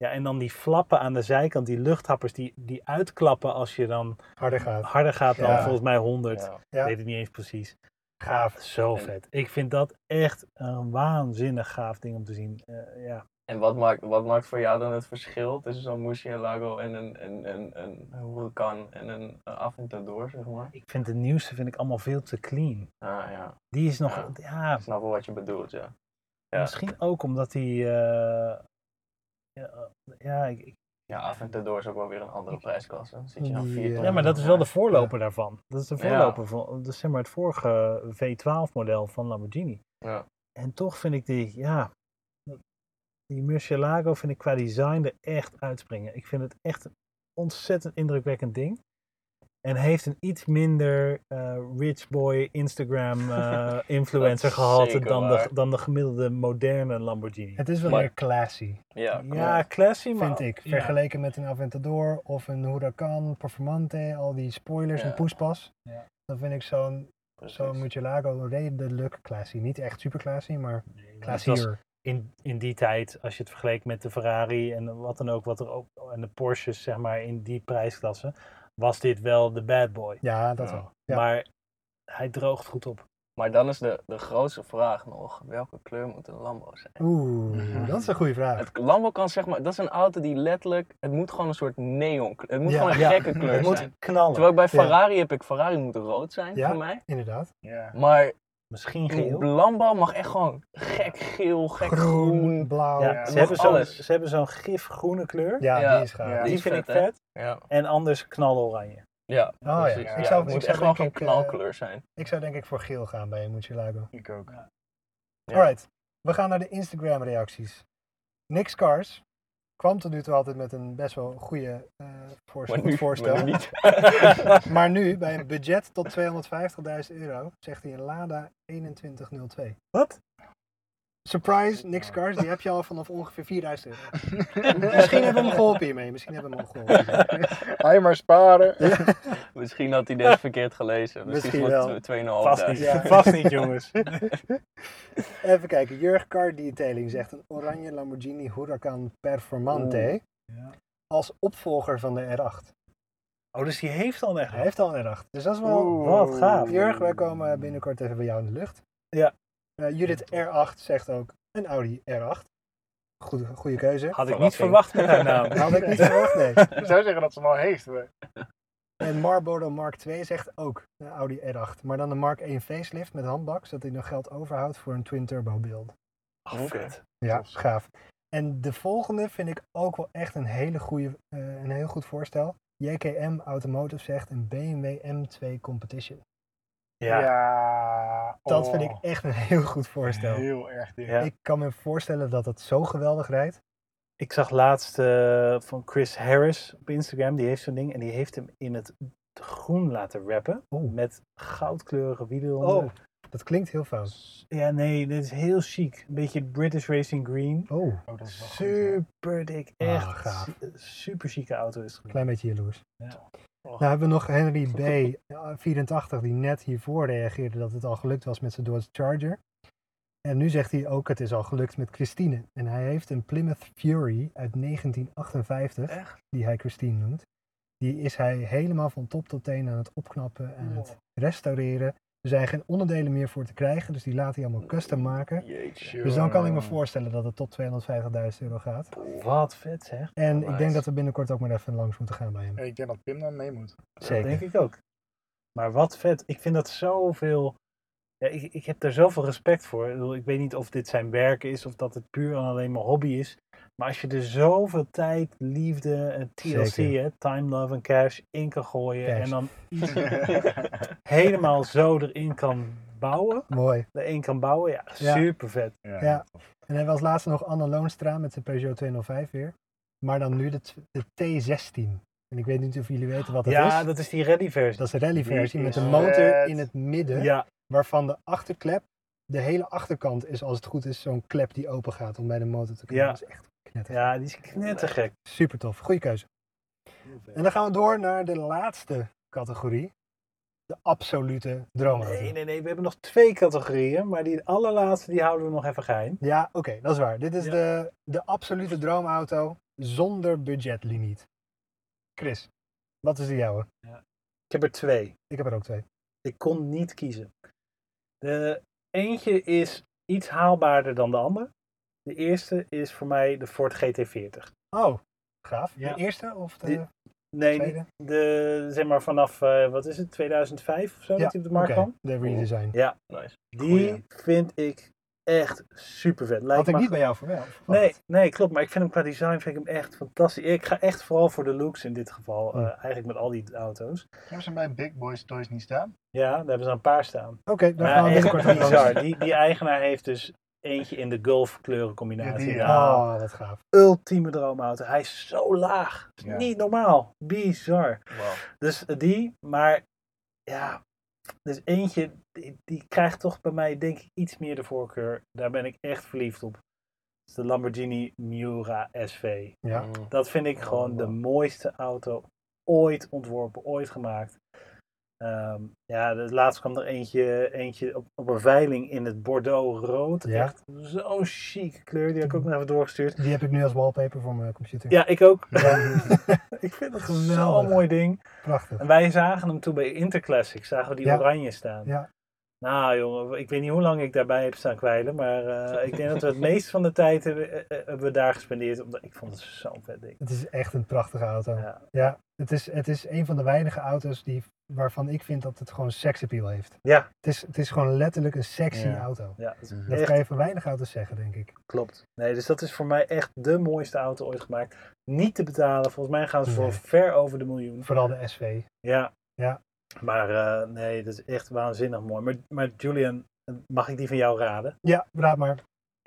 S3: Ja, en dan die flappen aan de zijkant, die luchthappers die, die uitklappen als je dan
S1: Harder gaat.
S3: harder gaat dan
S1: Ja.
S3: volgens mij 100.
S2: Ja.
S1: Ja.
S3: Ik weet het niet eens precies.
S1: Gaaf.
S3: Zo vet. Ik vind dat echt een waanzinnig gaaf ding om te zien. Eh, ja.
S2: En wat maakt, wat maakt voor jou dan het verschil tussen zo'n Murcielago en een, een, een, een Huracan en een eh, Aventador, zeg maar?
S3: Ik vind de nieuwste vind ik allemaal veel te clean.
S2: Ah ja,
S3: Die is nog,
S2: Ja.
S3: ja,
S2: ik snap wel wat je bedoelt, ja. Ja.
S3: misschien ook omdat die, eh, ja, eh, ja, ik- ik-
S2: Ja, Aventador is ook wel weer een andere prijsklasse. Dan Zit je aan
S1: Ja.
S2: vier ton
S3: ja, maar dat is wel de
S2: maar-
S3: voorloper daarvan. Dat is de
S2: Ja.
S3: voorloper van, dat is zeg maar het vorige V12 model van Lamborghini.
S2: Ja.
S3: En toch vind ik die, ja, die Murcielago vind ik qua design er echt uitspringen. Ik vind het echt een ontzettend indrukwekkend ding. En heeft een iets minder eh, rich boy
S2: <laughs>
S3: Instagram eh, influencer
S2: is
S3: gehalte
S2: zeker
S3: dan de,
S2: waar.
S3: dan de gemiddelde moderne Lamborghini.
S1: Het is wel
S2: Maar-
S1: meer classy,
S2: Ja,
S3: Ja, classy, maar...
S1: vind ik.
S3: ja.
S1: Vergeleken met een Aventador of een Huracan, Performante, al die spoilers
S2: Ja.
S1: en poespas.
S3: Ja.
S1: Dan vind ik zo'n
S2: precies.
S1: zo'n Murcielago redelijk classy. Niet echt super classy, maar
S3: Nee, maar het was
S1: classier.
S3: in, in die tijd, als je het vergeleek met de Ferrari en wat dan ook, wat er ook, en de Porsches, zeg maar, in die prijsklasse, was dit wel de bad boy.
S1: Ja, dat
S2: Ja.
S1: wel. Ja.
S3: Maar hij droogt goed op.
S2: Maar dan is de, de grootste vraag nog, welke kleur moet een Lambo zijn?
S1: Oeh, dat is een goede vraag.
S2: Het Lambo kan zeg maar, dat is een auto die letterlijk, het moet gewoon een soort neon, het moet
S1: Ja.
S2: gewoon een
S3: Ja.
S2: gekke kleur
S1: Het moet
S2: zijn.
S3: Knallen.
S2: Terwijl bij
S1: Ja.
S2: Ferrari heb ik, Ferrari moet rood zijn
S1: Ja.
S2: voor mij.
S1: Inderdaad.
S4: Ja.
S2: Maar
S3: Misschien geel.
S2: Lambo mag echt gewoon gek geel, gek groen.
S1: Groen, blauw.
S3: Ja,
S1: Ja,
S2: het
S3: ze, hebben
S2: mag
S3: zo'n,
S2: alles.
S3: ze hebben zo'n gifgroene kleur.
S2: Ja.
S1: die is gaaf.
S4: Ja.
S3: die,
S2: die is
S3: vind
S2: vet,
S3: ik
S2: hè?
S3: vet.
S2: Ja,
S3: En anders knaloranje.
S2: ja.
S1: Oh, ja.
S2: precies.
S1: Ik zou-
S2: het moet
S1: ik zou
S2: echt gewoon een
S1: denk ik, eh,
S2: knalkleur zijn.
S1: Ik zou denk ik voor geel gaan bij een Murcielago.
S4: Ik ook.
S2: Ja.
S1: Alright, we gaan naar de Instagram reacties. Nick Cars kwam tot nu toe altijd met een best wel goede eh voorstel,
S2: Maar
S1: goed
S2: nu,
S1: voorstel.
S2: maar nu niet.
S1: <laughs> Maar nu, bij een budget tot 250.000 euro, zegt hij een Lada 2102.
S3: Wat?
S1: Surprise, Nick Cars, die heb je al vanaf ongeveer 4000 euro. Misschien hebben we hem geholpen hiermee, misschien hebben we hem geholpen. hiermee.
S4: Ga je maar sparen.
S2: Misschien had hij deze verkeerd gelezen.
S1: Misschien
S2: Misschien was
S1: wel.
S2: het 2,5
S3: Vast niet,
S1: Ja.
S3: <laughs> vast niet jongens.
S1: Even kijken, Jurg Car Detailing zegt een oranje Lamborghini Huracan Performante
S3: Ja.
S1: als opvolger van de R8.
S3: Oh, dus die heeft al echt.
S1: Hij heeft al een R8, dus dat is wel...
S3: wat gaaf.
S1: Jurg, wij komen binnenkort even bij jou in de lucht.
S3: Ja.
S1: Eh, Judith R8 zegt ook een Audi R8. Goede, goede keuze.
S3: Had ik
S2: Verrassing.
S3: niet verwacht met haar
S1: <laughs>
S3: naam.
S1: Had ik niet verwacht, nee.
S4: Ik zou zeggen dat ze hem al heeft. maar-
S1: En Marlboro Mark II zegt ook een Audi R8. Maar dan een Mark 1 facelift met handbak, zodat hij nog geld overhoudt voor een twin turbo build.
S3: Oh, vet.
S1: Ja,
S4: Tof.
S1: gaaf. En de volgende vind ik ook wel echt een, hele goede, eh, een heel goed voorstel. JKM Automotive zegt een BMW M2 Competition.
S3: Ja.
S1: Dat
S4: oh,
S1: vind ik echt een heel goed voorstel.
S4: Heel erg dik.
S3: Ja.
S1: Ik kan me voorstellen dat het zo geweldig rijdt.
S3: Ik zag laatst eh, van Chris Harris op Instagram, die heeft zo'n ding en die heeft hem in het groen laten rappen.
S1: Oeh.
S3: Met goudkleurige wielen.
S1: Oh,
S3: onder.
S1: dat klinkt heel fout.
S3: Ja, nee, dit is heel chic. Een beetje British Racing Green.
S1: Oh,
S4: Oh, dat is wel goed, hè.
S3: Super dik,
S1: Ah,
S3: echt
S1: gaaf.
S3: su- super chique auto is het geworden.
S1: klein beetje jaloers.
S3: Ja.
S1: Nou hebben we nog Henry
S2: <laughs>
S1: B. 84, die net hiervoor reageerde dat het al gelukt was met zijn Dodge Charger. En nu zegt hij ook, het is al gelukt met Christine. En hij heeft een Plymouth Fury uit 1958,
S2: Echt?
S1: die hij Christine noemt. Die is hij helemaal van top tot teen aan het opknappen, aan het restaureren. Er zijn geen onderdelen meer voor te krijgen, dus die laat hij allemaal custom maken.
S2: Jeetje.
S1: Dus dan kan ik me voorstellen dat het tot 250.000 euro gaat.
S3: Wat vet zeg.
S1: En
S2: Nice.
S1: ik denk dat we binnenkort ook maar even langs moeten gaan bij hem.
S4: Ik denk dat Pim dan mee
S1: <laughs>
S4: moet.
S1: Zeker.
S3: Dat denk ik ook. Maar wat vet. Ik vind dat zoveel... Ja, ik, ik heb daar zoveel respect voor. Ik, bedoel, ik weet niet of dit zijn werk is of dat het puur en alleen maar hobby is. Maar als je er zoveel tijd, liefde en TLC,
S1: Zeker.
S3: hè, time, love en cash, in kan gooien.
S1: Cash.
S3: En dan helemaal <laughs> zo erin kan bouwen.
S1: Mooi.
S3: Erin kan bouwen, ja,
S1: Ja.
S3: super vet.
S1: Ja. En hij was laatst nog Anne Loonstra met zijn Peugeot 205 weer. Maar dan nu de, t- de T16. En ik weet niet of jullie weten wat dat
S3: ja,
S1: is.
S3: dat is die ready versie.
S1: Dat is de rallyversie
S4: Die
S1: met
S4: is
S1: een motor
S4: vet.
S1: in het midden.
S3: Ja,
S1: Waarvan de achterklep, de hele achterkant is als het goed is zo'n klep die open gaat om bij de motor te kunnen.
S3: Ja.
S1: Dat is echt knetter.
S3: ja, die is knettergek.
S1: Super tof. Goeie keuze. En dan gaan we door naar de laatste categorie. De absolute droomauto.
S3: Nee, nee, nee. We hebben nog twee categorieën. Maar die allerlaatste, die houden we nog even geheim.
S1: Ja, oké, dat is waar. Dit is
S3: Ja.
S1: de, de absolute droomauto zonder budgetlimiet. Chris, wat is de jouwe?
S3: Ik heb er twee.
S1: Ik heb er ook twee.
S3: Ik kon niet kiezen. De eentje is iets haalbaarder dan de ander. De eerste is voor mij de Ford GT40.
S1: Oh, gaaf.
S3: Ja.
S1: De eerste of de
S3: Die- Nee,
S1: tweede?
S3: niet de, zeg maar vanaf, eh, wat is het, 2005 of zo,
S1: Ja,
S3: dat hij op de markt
S1: Oké,
S3: kwam.
S1: de redesign.
S2: Nice.
S3: Die
S2: Goeie.
S3: vind ik echt super vet.
S1: Had ik niet bij jou verwacht.
S3: Nee, nee, klopt. Maar ik vind hem qua design vind ik hem echt fantastisch. Ik ga echt vooral voor de looks in dit
S1: Hm.
S3: geval. eh, eigenlijk met al die auto's.
S4: Hebben ze bij Big Boys Toys niet staan?
S3: Ja, daar hebben ze een paar staan.
S1: Oké, daar
S3: Maar
S1: gaan we
S3: echt
S1: binnenkort van
S3: bizar.
S1: posten.
S3: Die, die eigenaar heeft dus eentje in de golf kleurencombinatie.
S4: Ja, die,
S3: Ja,
S1: Oh, wat gaaf.
S3: ultieme droomauto. Hij is zo laag.
S4: Ja.
S3: Niet normaal. Bizar.
S2: Wow.
S3: Dus die, maar ja. Dus eentje, die, die krijgt toch bij mij denk ik iets meer de voorkeur. Daar ben ik echt verliefd op. Dat is de Lamborghini Miura SV.
S1: Ja.
S2: Mm.
S3: Dat vind
S1: Oh,
S3: ik gewoon de mooiste auto ooit ontworpen, ooit gemaakt. Ehm, ja, dus laatst kwam er eentje, eentje op, op een veiling in het Bordeaux rood.
S1: Ja.
S3: Echt zo'n chique kleur. Die heb ik ook nog even doorgestuurd.
S1: Die heb ik nu als wallpaper voor mijn computer.
S3: Ja, ik ook.
S1: Ja.
S3: <laughs> ik vind dat
S1: Geweldig.
S3: zo'n mooi ding.
S1: Prachtig.
S3: En wij zagen hem toen bij Interclassic. Zagen we die
S1: Ja.
S3: oranje staan.
S1: Ja.
S3: Nou jongen, ik weet niet hoe lang ik daarbij heb staan kwijlen. Maar eh, ik denk dat we
S1: <laughs>
S3: het meest van de tijd hebben, eh, eh, hebben we daar gespendeerd. Omdat, ik vond het zo'n vet ding.
S1: Het is echt een prachtige auto. Ja,
S3: Ja.
S1: het, is, het is een van de weinige auto's die, waarvan ik vind dat het gewoon seksappeal heeft.
S3: Ja.
S1: Het is, het is gewoon letterlijk een sexy
S3: Ja.
S1: auto.
S3: Ja, dat is
S1: Dat
S3: echt
S1: kan je van weinig auto's zeggen, denk ik.
S3: Klopt. Nee, dus dat is voor mij echt de mooiste auto ooit gemaakt. Niet te betalen. Volgens mij gaan ze voor
S1: Nee.
S3: ver over de miljoen.
S1: Vooral de SV.
S3: Ja.
S1: Ja.
S3: Maar eh, nee, dat is echt waanzinnig mooi. Maar, maar Julian, eh, mag ik die van jou raden?
S1: Ja, raad maar.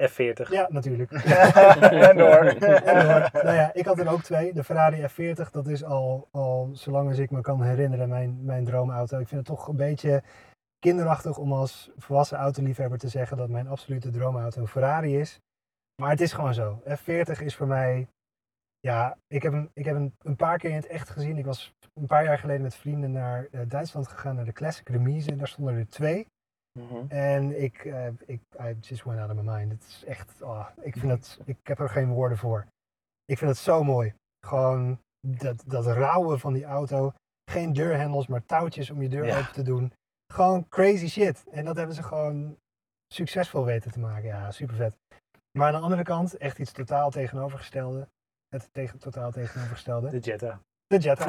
S3: F40.
S1: Ja, natuurlijk.
S4: <laughs> en
S1: <laughs>
S4: door.
S1: En, eh, nou ja, ik had er ook twee. De Ferrari F40, dat is al, al zolang als ik me kan herinneren, mijn, mijn droomauto. Ik vind het toch een beetje kinderachtig om als volwassen autoliefhebber te zeggen dat mijn absolute droomauto een Ferrari is. Maar het is gewoon zo. F40 is voor mij. Ja, ik heb hem, ik heb hem een paar keer in het echt gezien. Ik was een paar jaar geleden met vrienden naar eh, Duitsland gegaan, naar de Classic Remise. En daar stonden er twee.
S2: Mhm.
S1: En ik, eh, ik I just went out of my mind. Het is echt, ah, ik vind het, ik heb er geen woorden voor. Ik vind het zo mooi. Gewoon dat, dat rauwe van die auto. Geen deurhendels, maar touwtjes om je deur
S3: Ja.
S1: open te doen. Gewoon crazy shit. En dat hebben ze gewoon succesvol weten te maken. Ja, super vet. Maar aan de andere kant, echt iets totaal tegenovergestelde. Het tegen, totaal tegenovergestelde.
S3: De Jetta.
S1: De Jetta.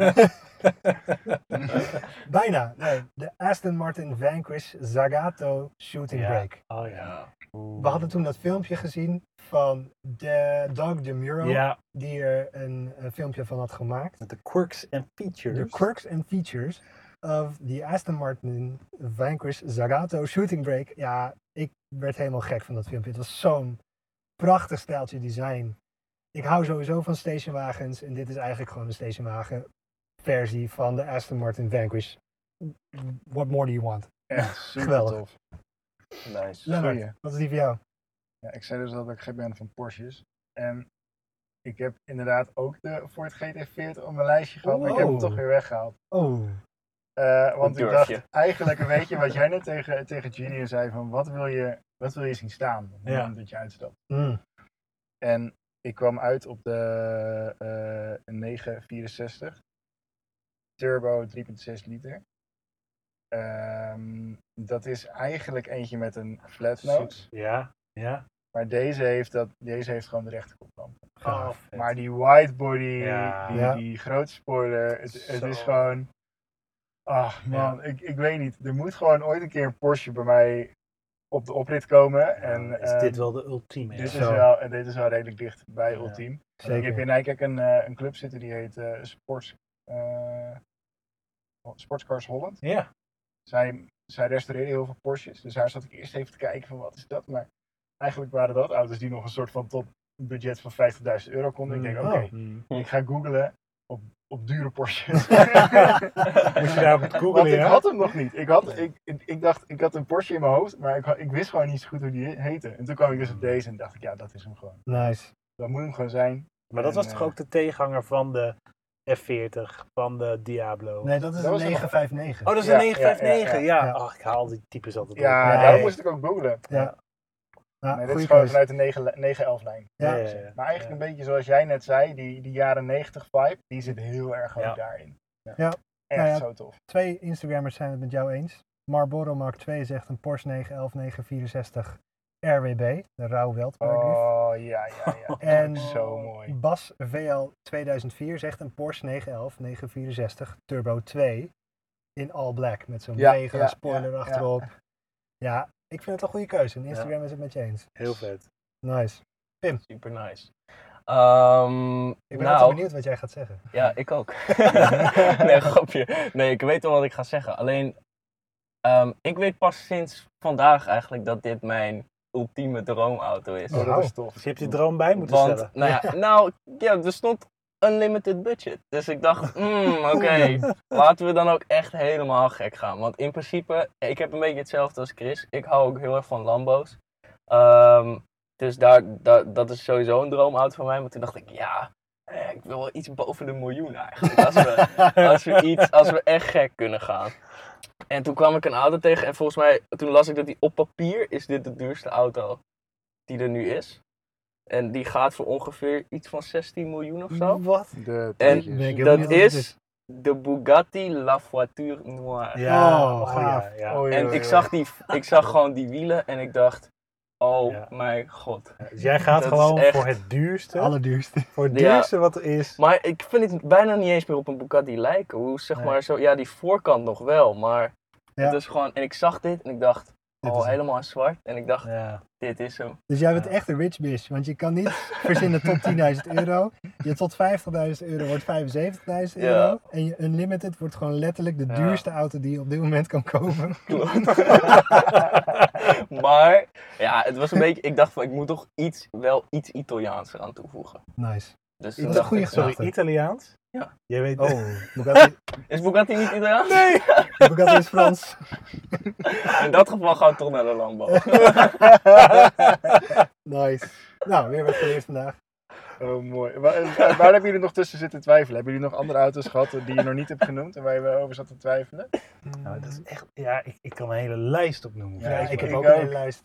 S3: <laughs>
S1: <laughs> Bijna. Nee, de Aston Martin Vanquish Zagato Shooting
S3: Ja.
S1: Brake.
S3: oh ja.
S1: We hadden toen dat filmpje gezien van de Doug DeMuro,
S3: Ja,
S1: die er een, eh, filmpje van had gemaakt.
S3: met de quirks en features.
S1: De quirks and features of the Aston Martin Vanquish Zagato Shooting Brake. Ja, ik werd helemaal gek van dat filmpje. Het was zo'n prachtig stijltje design. Ik hou sowieso van stationwagens en dit is eigenlijk gewoon een stationwagen versie van de Aston Martin Vanquish. What more do you want?
S4: Echt super
S1: Geweldig.
S4: tof.
S2: Nice.
S1: Lennart,
S4: Goeie.
S1: wat is die voor jou?
S4: Ja, ik zei dus dat ik gek ben van Porsches. En ik heb inderdaad ook de Ford GT40 op mijn lijstje gehad, maar ik heb hem
S1: Oh.
S4: toch weer weggehaald.
S1: Oh,
S4: Eh, want
S2: Hoe
S4: ik
S2: durf
S4: dacht
S2: je?
S4: eigenlijk een beetje wat jij net tegen, tegen Julian zei: van wat wil je, wat wil je zien staan op het
S3: Ja.
S4: moment dat je uitstapt?
S1: mm.
S4: En ik kwam uit op de eh 964 Turbo 3,6 liter. Ehm, dat is eigenlijk eentje met een flat nose.
S3: Ja, ja.
S4: Maar deze heeft, dat, deze heeft gewoon de rechte koplamp.
S1: gaaf.
S3: Oh, vet.
S4: Maar die widebody,
S3: Ja.
S4: die,
S1: Ja.
S4: die grote spoiler, het, het is
S3: Zo.
S4: gewoon. Ach man, ik, ik weet niet. Er moet gewoon ooit een keer een Porsche bij mij op de oprit komen. en,
S3: is
S4: eh,
S3: dit wel de ultieme?
S4: dit,
S3: ja.
S4: is
S1: Zo.
S4: wel, en dit is wel redelijk dicht bij
S3: Ja.
S4: Ultiem. Ik
S1: Zeker.
S4: heb in Nijkerk een, eh, een club zitten die heet eh, Sports, eh, Sportscars Holland.
S3: Ja.
S4: Zij, zij restaureren heel veel Porsches. Dus daar zat ik eerst even te kijken van wat is dat. Maar eigenlijk waren dat auto's die nog een soort van tot een budget van 50.000 euro konden. Ik denk
S1: Mm.
S4: oké, <laughs> ik ga googlen op, op dure
S1: <laughs>
S4: Porsches.
S3: Moet je daarop
S4: Want
S3: googlen,
S4: ik
S3: ja?
S4: had hem nog niet. Ik, had, ik, ik, ik dacht, ik had een Porsche in mijn hoofd, maar ik, ha- ik
S3: Mm.
S4: wist gewoon niet zo goed hoe die heette. En toen kwam ik dus op deze en dacht ik, ja, dat is hem gewoon.
S1: Nice.
S4: Dat moet hem gewoon zijn.
S3: Maar dat
S4: En,
S3: was toch
S4: eh,
S3: ook de tegenhanger van de F40, van de Diablo?
S1: Nee, dat is
S4: Dat was
S1: een
S4: een-
S1: 959.
S3: Oh, dat is
S4: Ja,
S3: een 959, ja.
S4: ja,
S1: ja.
S3: Ach, ik haal die types altijd
S4: Ja,
S3: op.
S1: Nee.
S4: daarom moest ik ook googlen.
S1: Ja,
S4: Nee, dit
S1: goeie
S4: is gewoon
S1: keuze.
S4: vanuit de 9 9-11-lijn.
S1: Ja.
S3: Ja, ja, ja.
S4: Maar eigenlijk een beetje zoals jij net zei, die, die jaren 90 vibe, die zit heel erg ook
S3: Ja.
S4: daarin.
S1: Ja.
S4: Echt
S1: Nou ja.
S4: zo tof.
S1: Twee Instagrammers zijn het met jou eens. Marlboro Mark 2 zegt een Porsche 911 964 RWB, de rauw weldpaardlief.
S4: Oh, ja, ja,
S1: <laughs>
S4: ja.
S1: En- <laughs>
S4: Zo mooi.
S1: Bas VL 2004 zegt een Porsche 911 964 Turbo 2 in all black met zo'n
S4: Ja,
S1: mega
S4: ja,
S1: spoiler
S4: ja, ja.
S1: achterop. Ja. ik vind het een goede keuze. En Instagram is het met je eens.
S3: Heel vet.
S1: Nice.
S2: Super nice. Ehm,
S1: Ik ben altijd
S2: nou,
S1: benieuwd wat jij gaat zeggen.
S2: ja, ik ook. <laughs> nee, grapje. Nee, ik weet al wat ik ga zeggen. Alleen, ehm, ik weet pas sinds vandaag eigenlijk dat dit mijn ultieme droomauto is.
S4: Oh,
S1: Wauw.
S4: dat is tof.
S3: Dus je hebt je droom bij moeten
S2: Want,
S3: stellen.
S2: nou
S3: <laughs>
S2: ja, nou, ja, er stond unlimited budget. Dus ik dacht, mm, oké,
S3: <laughs>
S2: laten we dan ook echt helemaal gek gaan. Want in principe, ik heb een beetje hetzelfde als Chris. Ik hou ook heel erg van Lambo's. Ehm, dus daar, daar- dat is sowieso een droomauto van mij. Maar toen dacht ik, ja, eh, ik wil wel iets boven de miljoen eigenlijk. Als we, als we, iets, als we echt gek kunnen gaan. En toen kwam ik een auto tegen en volgens mij, toen las ik dat die op papier is dit de duurste auto die er nu is. En die gaat voor ongeveer iets van 16 miljoen of zo.
S3: Mm,
S1: Wat?
S4: De
S2: En
S1: Ben ik heel benieuwd
S2: dat
S1: wat het
S2: is de Bugatti La Voiture Noire.
S3: Ja,
S1: Oh,
S3: oh, ja,
S1: gaaf.
S3: ja.
S4: Oh, joh,
S2: En
S4: joh,
S2: ik
S4: joh.
S2: zag, die, ik zag gewoon die wielen en ik dacht, oh
S3: Ja.
S2: mijn god.
S3: Dus jij gaat
S2: Dat is
S3: gewoon
S2: echt-
S3: voor het duurste.
S1: Het allerduurste.
S3: Voor het
S2: Ja.
S3: duurste wat er is.
S2: Maar ik vind het bijna niet eens meer op een Bugatti lijken. Hoe zeg
S3: Nee.
S2: maar zo, ja die voorkant nog wel, maar
S1: Ja.
S2: het is gewoon, en ik zag dit en ik dacht,
S1: Dit is
S2: oh
S1: hem.
S2: helemaal in zwart. En ik dacht,
S3: Ja.
S2: dit is hem.
S1: Dus jij bent echt een rich bitch, want je kan niet verzinnen tot 10.000 euro. Je tot 50.000 euro wordt 75.000 euro. En je unlimited wordt gewoon letterlijk de
S2: Ja.
S1: duurste auto die je op dit moment kan kopen.
S2: maar ja, het was een beetje, ik dacht van ik moet toch iets, wel iets Italiaans eraan toevoegen.
S1: Nice.
S2: Dus
S1: Dat is
S2: toen
S1: een
S2: dacht
S1: goede
S2: ik,
S1: gedachte.
S2: nou,
S3: Sorry, Italiaans?
S2: Ja.
S3: Jij weet
S1: Oh, Bugatti,
S2: is Bugatti niet Italiaans?
S3: Nee!
S1: Bugatti is Frans.
S2: <laughs> In dat geval gaan we toch naar de landbouw.
S1: Nice. Nou, weer wat geleerd vandaag.
S4: Oh, mooi. Waar, eh, waar hebben jullie nog tussen zitten twijfelen? Hebben jullie nog andere auto's gehad die je nog niet hebt genoemd en waar je wel over zat te twijfelen?
S3: Nou, dat is echt... Ja, ik, ik kan een hele lijst opnoemen.
S1: Ja,
S4: Ja,
S1: ik
S4: ik
S1: heb
S4: ik
S1: ook een hele
S4: ook.
S1: lijst.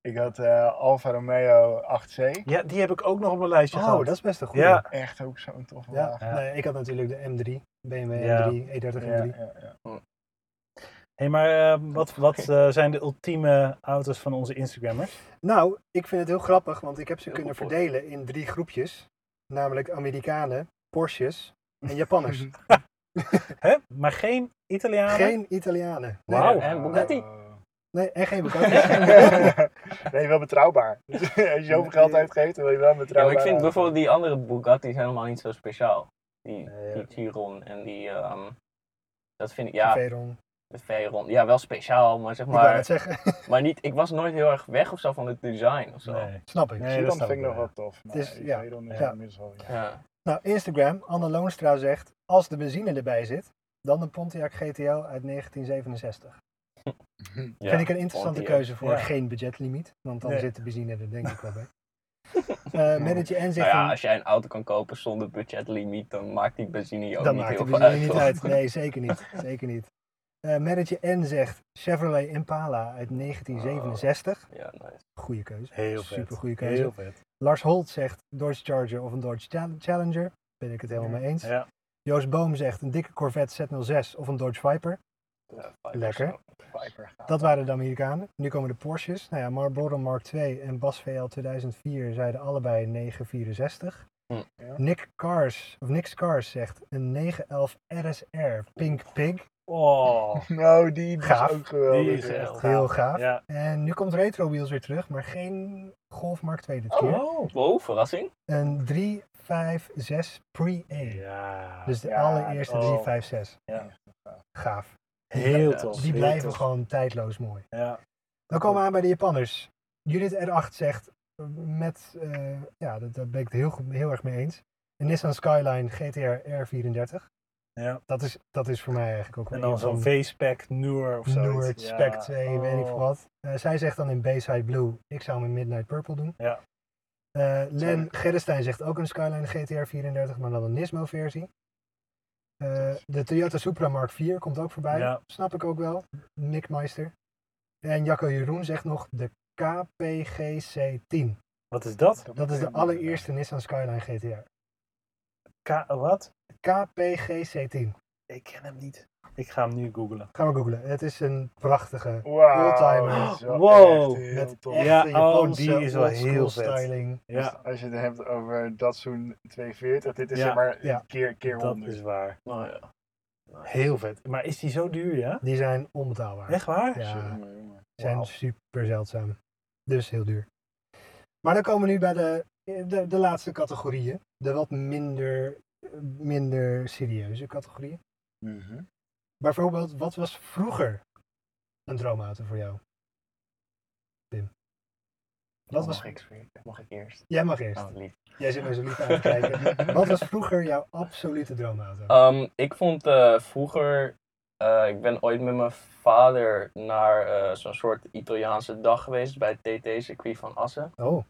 S4: Ik had eh, Alfa Romeo 8C.
S3: Ja, die heb ik ook nog op mijn lijstje
S1: Oh,
S3: gehad.
S1: dat is best een goede.
S3: Ja,
S4: Echt ook zo'n toffe
S1: Ja,
S4: wagen.
S3: Ja.
S1: Nee, ik had natuurlijk de M3, BMW
S3: Ja.
S1: M3, E30
S4: Ja,
S1: M3.
S4: ja, ja.
S3: Hey, maar eh, wat, wat eh, zijn de ultieme auto's van onze Instagrammers?
S1: Nou, ik vind het heel grappig, want ik heb ze
S2: Heel
S1: kunnen
S2: goed, hoor.
S1: verdelen in drie groepjes. Namelijk Amerikanen, Porsches en
S2: <laughs>
S1: Japanners.
S3: Hè? Maar geen Italianen?
S1: geen Italianen. Nee,
S3: Wauw.
S2: En Bugatti.
S1: nee, en geen
S2: <laughs>
S1: Bugatti.
S4: <laughs> nee, wel betrouwbaar. <laughs> Als je zoveel geld uitgeeft, dan wil je wel
S2: Ja, maar
S4: betrouwbaar.
S2: ik vind
S4: auto.
S2: bijvoorbeeld die andere Bugatti's helemaal niet zo speciaal. Die,
S3: Nee, ja.
S2: die Chiron en die, ehm, dat vind ik, ja,
S1: Veyron.
S2: de Veyron. Ja, wel speciaal, maar zeg
S1: Ik wou net
S2: maar,
S1: zeggen. <laughs>
S2: maar niet, ik was nooit heel erg weg of zo van het design of zo.
S3: Nee.
S1: Snap ik.
S3: Nee. dat
S4: Chiron
S3: snap
S4: vind ik
S3: ik
S4: nog
S3: wel,
S4: wel tof. Maar
S1: Het is-
S4: die
S1: ja.
S4: Veyron is
S1: Ja.
S4: inmiddels wel- ja.
S2: Ja.
S1: Nou, Instagram, Anne Loonstra zegt, als de benzine erbij zit, dan de Pontiac GTO uit 1967.
S2: Ja,
S1: Vind ik een interessante
S2: Pontiac.
S1: keuze voor
S3: Ja.
S1: geen budgetlimiet. Want dan
S3: Nee.
S1: zit de benzine er denk ik wel
S2: <laughs>
S1: bij. Eh Manager N
S2: Nou
S1: zegt,
S2: ja, als jij een auto kan kopen zonder budgetlimiet, dan maakt die benzine je ook
S1: dan
S2: niet
S1: maakt de
S2: heel
S1: benzine
S2: veel uit.
S1: niet
S2: toch?
S1: uit. Nee, zeker niet. Zeker niet. Eh Manager N zegt Chevrolet Impala uit 1967.
S2: Ja, nice.
S1: Goeie keuze.
S3: Heel vet.
S1: Super goede keuze.
S3: Heel vet.
S1: Lars Holt zegt Dodge Charger of een Dodge Chal- Challenger. Ben ik het helemaal mee eens.
S3: Ja.
S1: Joost Boom zegt een dikke Corvette Z06 of een Dodge Viper.
S2: Ja, fijn.
S1: Lekker.
S4: Viper gaat.
S1: Dat waren de Amerikanen. Nu komen de Porsches. Nou ja, Marlboro Mark II en Bas VL 2004 zeiden allebei 964.
S2: Hm.
S4: Ja.
S1: Nick Cars, of Nick Cars zegt een 911 RSR Pink Pig.
S3: Oh,
S4: Nou, die, die
S1: Gaaf.
S4: is ook geweldig.
S3: Die is
S4: ja.
S3: echt-
S1: Heel gaaf.
S3: ja.
S1: En nu komt Retro Wheels weer terug, maar geen Golf Mark II dit keer.
S3: Oh.
S2: Wow, verrassing.
S1: Een 356 Pre-A.
S3: Ja.
S1: Dus de
S4: Ja,
S1: allereerste
S3: oh.
S1: 356.
S3: Ja.
S1: Gaaf.
S3: Heel
S2: Ja,
S3: tof.
S1: Die
S3: heel
S1: blijven
S3: tof.
S1: gewoon tijdloos mooi.
S3: Ja.
S1: Dan komen we aan bij de Japanners. Judith R8 zegt, met, eh, ja, dat- daar ben ik het heel, goed- heel erg mee eens. Een Nissan Skyline GTR R34.
S3: ja.
S1: Dat is, dat is voor mij eigenlijk ook wel
S3: En
S1: een
S3: dan zo'n
S1: van
S3: V-spec Noor of Oh. zo.
S1: Noord, Spec 2, weet ik veel wat. Eh, zij zegt dan in Bayside Blue, ik zou mijn Midnight Purple doen.
S3: Ja.
S1: Eh, Len Gerrestein zegt ook een Skyline GTR 34, maar dan een Nismo-versie. Eh, de Toyota Supra Mark 4 komt ook voorbij.
S3: Ja.
S1: Snap ik ook wel. Nick Meister. En Jacco Jeroen zegt nog de KPGC10.
S3: Wat is dat?
S1: Dat is de
S4: moet ik-
S1: allereerste Nissan Skyline GTR.
S3: K wat?
S1: KPGC10.
S3: Ik ken hem niet. Ik ga hem nu googlen.
S1: Gaan we googlen. Het is een prachtige.
S4: Wauw.
S1: All-timer.
S4: dat is wel
S3: Wow.
S4: echt heel
S1: Met
S4: tof. Dus
S1: echte
S3: Ja, oh,
S1: Japanse
S3: die is wel
S1: oldschool
S3: heel vet.
S1: styling.
S3: Ja,
S4: Als je het hebt over Datsun 240, dit is
S3: Ja,
S4: zeg maar
S1: ja.
S4: keer, keer
S3: dat
S4: 100.
S3: is waar.
S1: Heel vet.
S3: Maar is die zo duur, ja?
S1: Die zijn onbetaalbaar.
S3: Echt waar?
S1: Ja.
S4: Jongen, jongen.
S1: Die zijn
S3: Wauw.
S1: super zeldzaam. Dus heel duur. Maar dan komen we nu bij de, de, de laatste categorieën. De wat minder, minder serieuze categorieën.
S4: Mhm. <laughs>
S1: Bijvoorbeeld, wat was vroeger een droomauto voor jou? Pim. Wat was...
S2: mag ik, mag ik eerst?
S1: Jij mag eerst.
S2: Oh, lief.
S1: Jij zit mij zo lief aan te
S2: <laughs>
S1: kijken. Wat was vroeger jouw absolute droomauto?
S2: Ehm, ik vond eh, vroeger, eh, ik ben ooit met mijn vader naar eh, zo'n soort Italiaanse dag geweest bij het TT-circuit van Assen.
S1: Oh,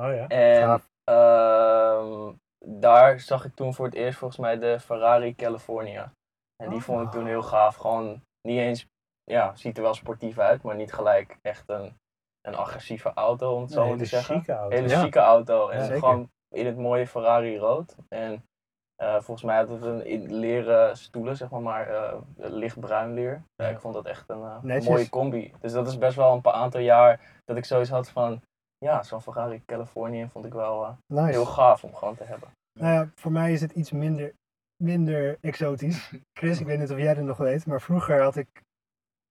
S3: Oh ja.
S2: En
S1: Gaaf.
S2: ehm, daar zag ik toen voor het eerst volgens mij de Ferrari California. En die vond ik toen heel gaaf. Gewoon niet eens, ja, ziet er wel sportief uit, maar niet gelijk echt een, een agressieve auto, om het zo maar te zeggen.
S3: chique auto.
S2: Hele
S3: Ja.
S2: chique auto. En
S1: Ja, zeker.
S2: gewoon in het mooie Ferrari rood. En eh, volgens mij had het een in- leren stoelen, zeg maar, maar eh, lichtbruin leer. Ja,
S1: Ja.
S2: ik vond dat echt een eh,
S1: Netjes.
S2: mooie combi. Dus dat is best wel een paar aantal jaar dat ik zoiets had van... Ja, zo'n Ferrari Californië vond ik wel eh,
S1: nice.
S2: heel gaaf om gewoon te hebben.
S1: Nou ja, voor mij is het iets minder, minder exotisch. Chris, ik weet niet of jij dat nog weet, maar vroeger had ik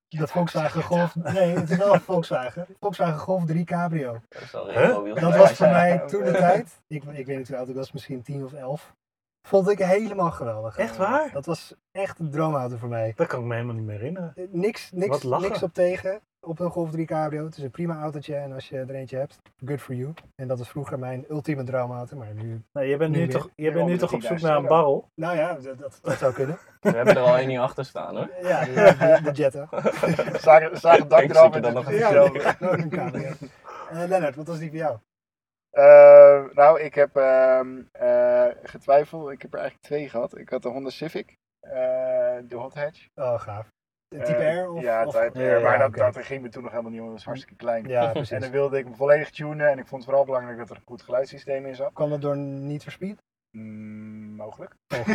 S1: dat Volkswagen Golf. Nee, het is wel een Volkswagen. Volkswagen Golf 3 Cabrio.
S2: Dat, is wel
S3: Huh?
S2: retrowiel.
S1: Dat was voor mij toen de tijd. Ik, ik weet niet hoe oud ik was, misschien 10 of 11. Vond ik helemaal geweldig.
S3: Echt waar?
S1: Dat was echt een droomauto voor mij.
S3: Dat kan ik me helemaal niet meer herinneren.
S1: Eh, Niks, niks,
S3: Wat lachen.
S1: niks op tegen op een Golf 3 Cabrio. Het is een prima autootje en als je er eentje hebt, good for you. En dat is vroeger mijn ultieme droomauto, maar nu...
S3: Nou, jij bent
S1: Niet
S3: nu,
S1: meer.
S3: toch, jij bent nu
S4: onder
S3: toch op zoek
S4: 10.000
S3: naar een
S4: euro.
S3: barrel?
S1: Nou ja, dat, dat, dat zou kunnen.
S2: We hebben er al één niet achter staan hoor.
S1: Ja, de, de Jetta. <laughs>
S4: Zagen zagen het dak
S2: Ik
S4: eraf
S2: zoek er dan
S4: en-
S2: nog
S1: Ja,
S2: Zo.
S1: nee, ook Oh, een cabrio. Eh, Lennart, wat was die voor jou?
S4: Eh, nou, ik heb ehm, eh, getwijfeld. Ik heb er eigenlijk twee gehad. Ik had de Honda Civic, eh, de Hot Hatch.
S1: Oh, gaaf. De type
S4: Eh,
S1: R? Of,
S4: ja,
S1: of-
S4: Type R.
S1: Ja,
S4: maar dat,
S1: oké.
S4: dat ging me toen nog helemaal niet om. Dat was hartstikke klein.
S1: Ja,
S4: <laughs> En dan
S1: precies.
S4: wilde ik hem volledig tunen. En ik vond het vooral belangrijk dat er een goed geluidssysteem in zat.
S1: Kwam dat door niet
S4: <laughs>
S1: verspied? Oh.
S4: Mm, mogelijk.
S1: <laughs>
S4: Eh,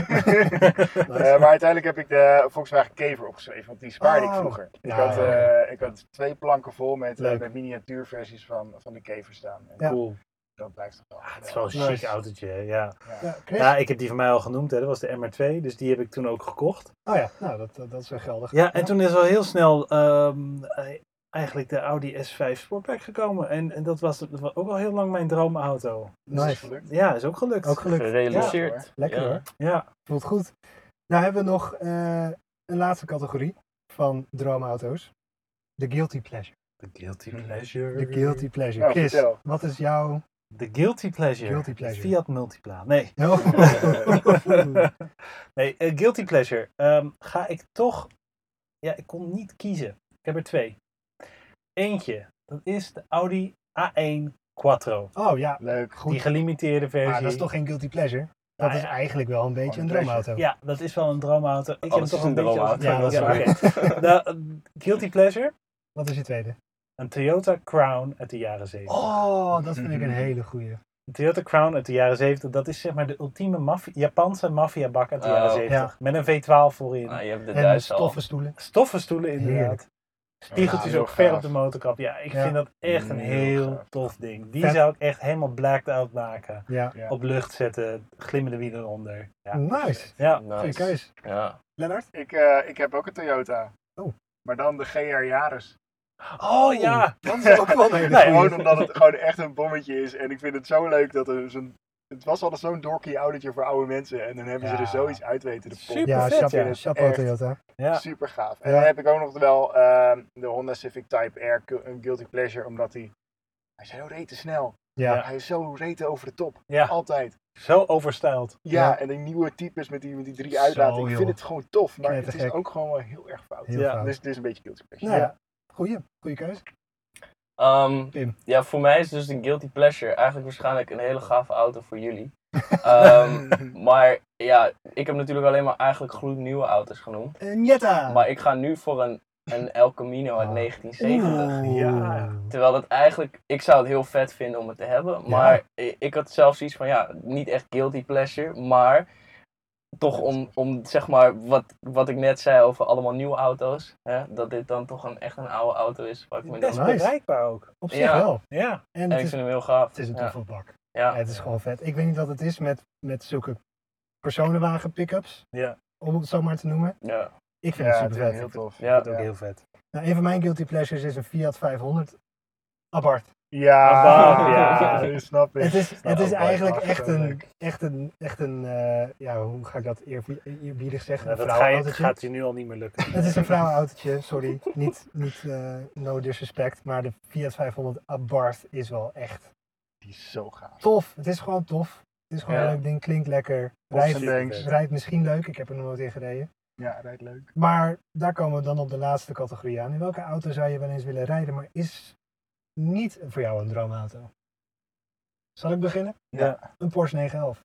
S1: Nice.
S4: maar uiteindelijk heb ik de Volkswagen Kever opgeschreven, want die spaarde
S1: Oh.
S4: ik vroeger. Ik,
S1: Ja,
S4: had,
S1: ja,
S4: eh, ik had twee planken vol met, eh,
S1: Leuk.
S4: met miniatuurversies van, van de Kever staan. En
S1: <laughs> Ja.
S3: Cool.
S4: Dat blijft toch wel. eh,
S3: Ah, het is wel een
S1: Nice.
S3: chic autootje, hè, ja.
S1: ja, Chris?
S3: Ja, ik heb die van mij al genoemd, hè. dat was de MR2, dus die heb ik toen ook gekocht.
S1: Oh ja, nou, dat, dat, dat is wel geldig.
S3: Ja, en toen is al heel snel ehm, eh, eigenlijk de Audi S5 Sportback gekomen. En, en dat, was, dat was ook al heel lang mijn droomauto.
S4: Dat is
S1: nice.
S4: gelukt.
S3: Ja, is ook gelukt.
S1: Ook gelukt.
S2: Gerealiseerd.
S1: Lekker
S2: Ja.
S1: hoor.
S3: Ja,
S1: Voelt goed. Nou hebben we nog eh, een laatste categorie van droomauto's. De guilty pleasure.
S3: The Guilty
S1: De
S3: Pleasure.
S1: guilty pleasure.
S4: Nou,
S1: Chris,
S4: vertel.
S1: wat is jouw... <laughs>
S4: <laughs>
S3: The Guilty Pleasure.
S1: Guilty pleasure.
S3: Fiat Multipla. Nee. <laughs> nee, eh, Guilty Pleasure. Ehm, ga ik toch... Ja, ik kon niet kiezen. Ik heb er twee. Eentje, dat is de Audi A1 Quattro.
S1: oh ja,
S4: Leuk.
S1: goed.
S3: Die gelimiteerde versie.
S1: Maar dat is toch geen guilty pleasure? Dat
S3: Nou
S1: is
S3: ja.
S1: eigenlijk wel een beetje
S4: Gewoon
S1: een
S4: een
S1: droomauto.
S3: Ja, dat is wel een droomauto. Ik
S2: Alles
S3: heb
S2: is
S3: toch
S2: een
S3: beetje als-
S2: droomauto.
S1: Ja, dat is
S3: ja,
S1: waar.
S3: oké. Nou, eh, Guilty Pleasure,
S1: Wat is je tweede?
S3: een Toyota Crown uit de jaren 70.
S1: Oh, dat vind ik een
S4: Mhm.
S1: hele goeie.
S3: Een Toyota Crown uit de jaren 70, dat is zeg maar de ultieme maffia- Japanse maffiabak uit de
S2: Oh,
S3: jaren 70. Met een V12 voorin.
S2: Ah, je hebt de
S1: En
S2: Duits al.
S1: stoffe stoeltjes.
S3: Stoffen stoelen inderdaad.
S1: Heerlijk.
S3: Spiegeltjes
S4: Ja,
S3: ook
S4: heel
S3: ver
S4: gaaf.
S3: op de motorkap. Ja, ik
S1: Ja.
S3: vind dat echt een
S4: Heel
S3: heel,
S4: gaaf.
S3: tof ding. Die
S1: Vet.
S3: zou ik echt helemaal blacked out maken.
S1: Ja.
S4: Ja.
S3: Op lucht zetten, glimmende wielen eronder. Ja.
S1: Nice.
S3: ja.
S1: Goeie
S2: Nice.
S1: keus.
S2: Ja.
S1: Lennart?
S4: Ik, eh, ik heb ook een Toyota.
S1: Oh.
S4: Maar dan de GR Yaris.
S3: Oh ja!
S1: Dat is ook wel een hele
S3: <laughs> Nee,
S1: goeie.
S4: Gewoon omdat het gewoon echt een bommetje is. En ik vind het zo leuk dat er zo'n... Het was altijd zo'n dorky autootje voor oude mensen. En dan hebben ze
S3: Ja.
S4: er zoiets uit weten. te pompen.
S3: Super
S1: Ja,
S3: vet,
S1: chapeau,
S3: ja.
S1: chapeau
S4: Echt.
S1: Toyota.
S3: Ja.
S4: Super gaaf. En
S1: Ja.
S4: dan heb ik ook nog wel ehm, de Honda Civic Type R, gu- een guilty pleasure, omdat hij... Hij is zo rete snel.
S1: Ja.
S4: Hij is zo rete over de top.
S3: ja,
S4: Altijd.
S3: zo overstyled.
S4: Ja,
S1: Ja.
S4: en die nieuwe types met die, met die drie
S1: Zo,
S4: uitlatingen. Ik
S1: joh.
S4: vind het gewoon tof, maar het is
S1: Knettergek.
S4: ook gewoon wel heel erg fout.
S1: Heel
S3: Ja,
S1: fout.
S4: Dus het is een beetje guilty pleasure.
S1: Nou
S3: Ja.
S1: ja, goeie. Goeie keus.
S2: Ehm, Ehm,
S1: Pim.
S2: ja, voor mij is dus de guilty pleasure eigenlijk waarschijnlijk een hele gave auto voor jullie.
S1: <laughs>
S2: Ehm, <laughs> maar ja, ik heb natuurlijk alleen maar eigenlijk gloednieuwe auto's genoemd.
S1: Een Jetta!
S2: Maar ik ga nu voor een, een El Camino uit
S5: Ah.
S2: 1970.
S1: Oeh.
S3: Ja.
S2: Terwijl dat eigenlijk, ik zou het heel vet vinden om het te hebben. Maar i- ik had zelfs iets van, ja, niet echt guilty pleasure. Maar toch om, om zeg maar, wat, wat ik net zei over allemaal nieuwe auto's. Hè, dat dit dan toch een, echt een oude auto is. Waar ik me dus
S3: Best
S2: dan...
S1: wel. Nice.
S3: bereikbaar ook.
S1: Op zich
S2: Ja.
S1: wel.
S3: Ja.
S1: En
S2: En
S1: nou, het
S2: ik
S1: is,
S2: vind hem heel gaaf.
S1: het is een
S2: ja.
S1: toffe bak.
S2: Ja.
S1: Ja, het is gewoon vet. Ik weet niet wat het is met, met zulke personenwagen pick-ups.
S3: Ja.
S1: Om het zo maar te noemen.
S2: Ja.
S1: Ik vind
S4: Ja,
S1: het
S4: het is
S1: super
S4: heel
S1: vet.
S4: tof.
S2: Ja.
S3: Dat is ook heel vet.
S1: Nou, een van mijn guilty pleasures is een Fiat 500. Abart.
S4: Ja,
S3: Ah,
S2: ja.
S1: <laughs>
S4: ja, dat <laughs> snap ik.
S1: Het is, het is
S4: Abarth
S1: eigenlijk
S4: mag
S1: echt
S4: wel
S1: een,
S4: leuk.
S1: echt een, echt een eh, ja, hoe ga ik dat eerbi- eerbiedig zeggen?
S3: Nou,
S1: Een
S3: dat ga je,
S1: vrouwenautootje.
S3: gaat je nu al niet meer lukken.
S1: Het is een
S3: <laughs>
S1: vrouwenautootje, sorry. niet, niet eh, no disrespect, maar de Fiat 500 Abarth is wel echt
S4: Die is zo gaaf.
S1: tof. Het is gewoon tof. Het is gewoon
S2: Ja.
S1: een leuk ding, klinkt lekker.
S4: Pops en
S1: Rijdt,
S4: bangs.
S1: rijdt misschien leuk, ik heb er nog nooit in gereden.
S4: Ja, rijdt leuk.
S1: Maar daar komen we dan op de laatste categorie aan. In welke auto zou je wel eens willen rijden, maar is niet voor jou een droomauto? Zal ik beginnen?
S4: Ja.
S1: Een Porsche 911.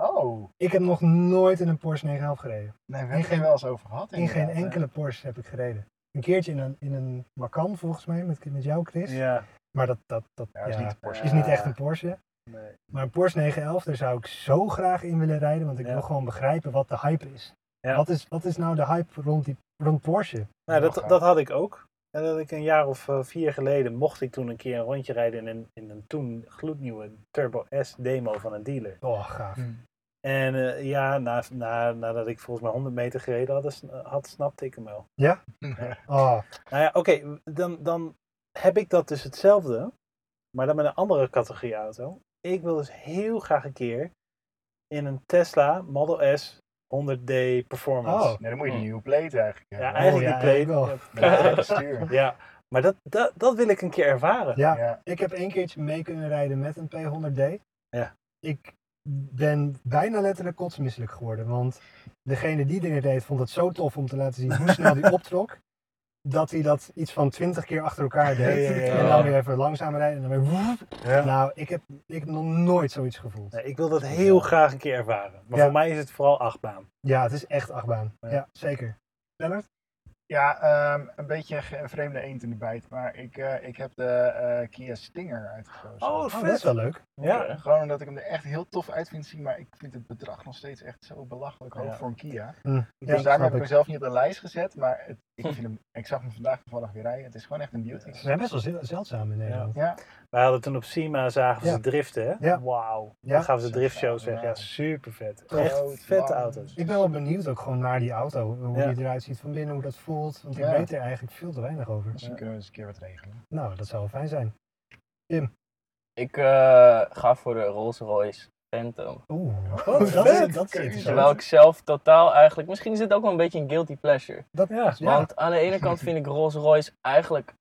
S4: Oh,
S1: Ik heb nog nooit in een Porsche 911 gereden.
S4: nee,
S1: In
S4: we hebben
S1: geen-
S4: er wel eens over gehad.
S1: In geen
S4: inderdaad, hè?
S1: enkele Porsche heb ik gereden. Een keertje in een, in een Macan volgens mij, met, met jou Chris.
S3: Ja.
S1: Maar dat, dat, dat
S4: Ja, is
S1: ja,
S4: niet de Porsche.
S1: is niet echt een Porsche.
S4: Nee.
S1: Maar een Porsche 911, daar zou ik zo graag in willen rijden, want ik
S3: Ja.
S1: wil gewoon begrijpen wat de hype is.
S3: Ja.
S1: Wat, is wat is nou de hype rond, die, rond Porsche?
S3: Nou,
S4: Heel
S3: dat,
S4: gaaf.
S3: dat had ik ook. En dat ik een jaar of eh, vier geleden mocht ik toen een keer een rondje rijden in een, in een toen gloednieuwe Turbo S demo van een dealer.
S1: Oh, gaaf.
S3: En eh, ja, na, na, nadat ik volgens mij 100 meter gereden had, is- had snapte ik hem wel.
S1: <laughs> Oh,
S3: Nou ja, oké, dan, dan heb ik dat dus hetzelfde, maar dan met een andere categorie auto. Ik wil dus heel graag een keer in een Tesla Model S 100D Performance.
S1: Oh.
S4: Nee, dan moet je die nieuwe plate eigenlijk
S3: Ja,
S4: hebben. Oh,
S3: eigenlijk
S1: ja,
S3: die plate.
S1: eigenlijk wel.
S3: Ja,
S4: Met het gekke stuur.
S3: <laughs> Ja, maar dat, dat, dat wil ik een keer ervaren.
S1: <laughs> ja.
S4: Ja.
S1: Ik heb één keertje mee kunnen rijden met een P100D.
S3: Ja.
S1: Ik ben bijna letterlijk kotsmisselijk geworden. Want degene die dingen deed, vond het zo tof om te laten zien hoe snel
S3: <laughs>
S1: die optrok. Dat hij dat iets van twintig keer achter elkaar deed.
S3: Ja, ja, ja,
S1: En
S2: ja.
S1: dan weer even langzaam rijden. En dan weer woef.
S3: Ja.
S1: Nou, ik heb, ik heb nog nooit zoiets gevoeld.
S3: Nee, ik wil dat heel graag een keer ervaren. Maar
S1: Ja.
S3: voor mij is het vooral achtbaan.
S1: Ja, het is echt achtbaan. Ja,
S3: Ja.
S1: zeker. Lennart?
S4: Ja, ehm, een beetje een ge- een vreemde eend in de bijt. Maar ik, eh, ik heb de eh, Kia Stinger uitgekozen.
S1: Oh, dat is wel leuk.
S3: Ja.
S2: Oké.
S4: Gewoon omdat ik hem er echt heel tof uit vind zien. Maar ik vind het bedrag nog steeds echt zo belachelijk hoog
S3: Ja.
S4: voor een Kia.
S1: Hm,
S4: Dus
S1: ja,
S4: daarom
S1: snap
S4: heb ik
S1: ik.
S4: hem zelf niet op de lijst gezet. Maar het, ik, vind hem, ik zag hem vandaag toevallig weer rijden. Het is gewoon echt een beauty.
S1: We zijn best wel ze- zeldzaam in Nederland.
S4: Ja,
S3: We hadden toen op Sima zagen we
S1: Ja.
S3: ze driften, hè?
S1: Ja.
S3: Wauw.
S1: Ja.
S3: Dan gaan we ze
S4: Zo
S3: driftshows
S4: gaaf,
S3: weg.
S4: ja.
S3: Ja, super vet.
S4: Groot,
S3: Echt vette
S4: lang.
S3: auto's.
S1: Ik ben wel benieuwd ook gewoon naar die auto. Hoe
S3: Ja.
S1: die eruit ziet van binnen, hoe dat voelt. Want ik
S4: Ja.
S1: weet er eigenlijk veel te weinig over.
S4: misschien kunnen we eens een keer wat regelen.
S1: Nou, dat zou wel fijn zijn.
S2: Ik eh, ga voor de Rolls Royce Phantom.
S1: Oeh,
S3: Wat
S1: Oh, dat,
S3: vet.
S1: dat is
S2: Terwijl
S1: interessant.
S2: ik zelf totaal eigenlijk... Misschien is dit ook wel een beetje een guilty pleasure.
S1: Dat,
S3: Ja.
S1: ja.
S2: Want aan de ene kant vind ik Rolls Royce eigenlijk...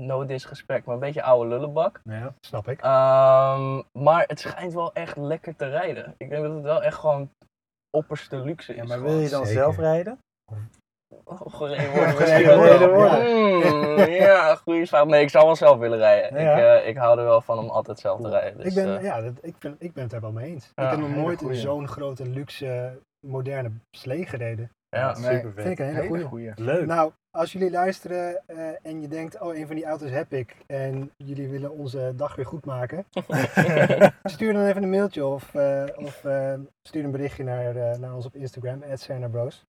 S2: No disrespect, maar een beetje oude lullenbak.
S3: Ja.
S1: snap ik.
S2: Ehm, maar het schijnt wel echt lekker te rijden. Ik denk dat het wel echt gewoon opperste luxe is.
S3: Ja, maar wil
S2: gewoon.
S3: je dan
S1: Zeker.
S3: zelf rijden?
S2: <laughs> Oh, gereden worden
S1: Gereden
S2: misschien wel.
S3: worden.
S2: Mm, ja, goede vraag. Nee, ik zou wel zelf willen rijden.
S3: Ja.
S2: Ik, eh, ik hou er wel van om altijd zelf te rijden. Dus,
S1: ik, ben,
S2: eh,
S1: ja, dat, ik, ben, ik ben het er wel mee eens.
S2: Ja,
S1: ik heb nog
S4: hele
S1: nooit in
S4: goeie.
S1: zo'n grote, luxe, moderne slee gereden.
S2: ja.
S4: Nee.
S3: Super
S1: Vind ik
S3: vet.
S1: een hele goeie.
S4: goede.
S3: Leuk. <laughs>
S1: Nou, als jullie luisteren eh, en je denkt, oh, een van die auto's heb ik. En jullie willen onze dag weer goed maken.
S2: <laughs>
S1: stuur dan even een mailtje of, eh, of eh, stuur een berichtje naar, eh, naar ons op Instagram, @cernabros.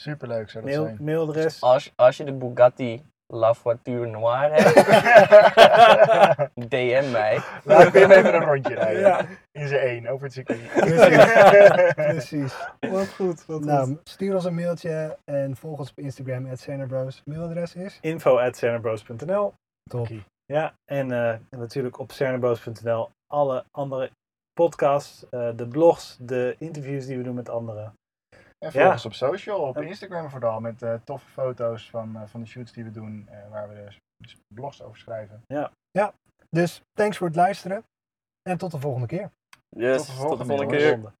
S4: Superleuk zou dat
S3: Mail,
S4: zijn.
S3: mailadres.
S2: Als, als je de Bugatti La Voiture Noire hebt, <laughs> DM mij.
S4: Laat ik weer even een
S1: <laughs>
S4: rondje rijden.
S3: Ja.
S4: In zijn één, over het circuit.
S2: <laughs>
S1: Precies.
S3: Wat goed. Wat goed.
S1: Nou, stuur ons een mailtje en volg ons op Instagram, @cernabros. Mailadres is?
S3: Info at cernabros.nl.
S1: Top.
S3: Ja, en eh, en natuurlijk op cernabros.nl alle andere podcasts, eh, de blogs, de interviews die we doen met anderen.
S4: En
S3: Ja.
S4: volg ons op social, op Instagram vooral, met eh, toffe foto's van, eh, van de shoots die we doen, eh, waar we dus blogs over schrijven.
S1: Dus thanks voor het luisteren en tot de volgende keer.
S2: Yes, tot de
S4: volgende
S2: volgende
S4: keer.
S2: keer.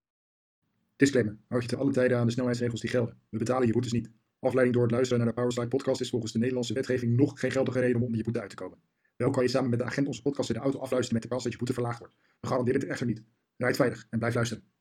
S6: Disclaimer. Houd je te alle tijden aan de snelheidsregels die gelden. We betalen je boetes niet. Afleiding door het luisteren naar de Powerslide podcast is volgens de Nederlandse wetgeving nog geen geldige reden om onder je boete uit te komen. Wel kan je samen met de agent onze podcast in de auto afluisteren met de kans dat je boete verlaagd wordt. We garanderen het echter niet. Rijd veilig en blijf luisteren.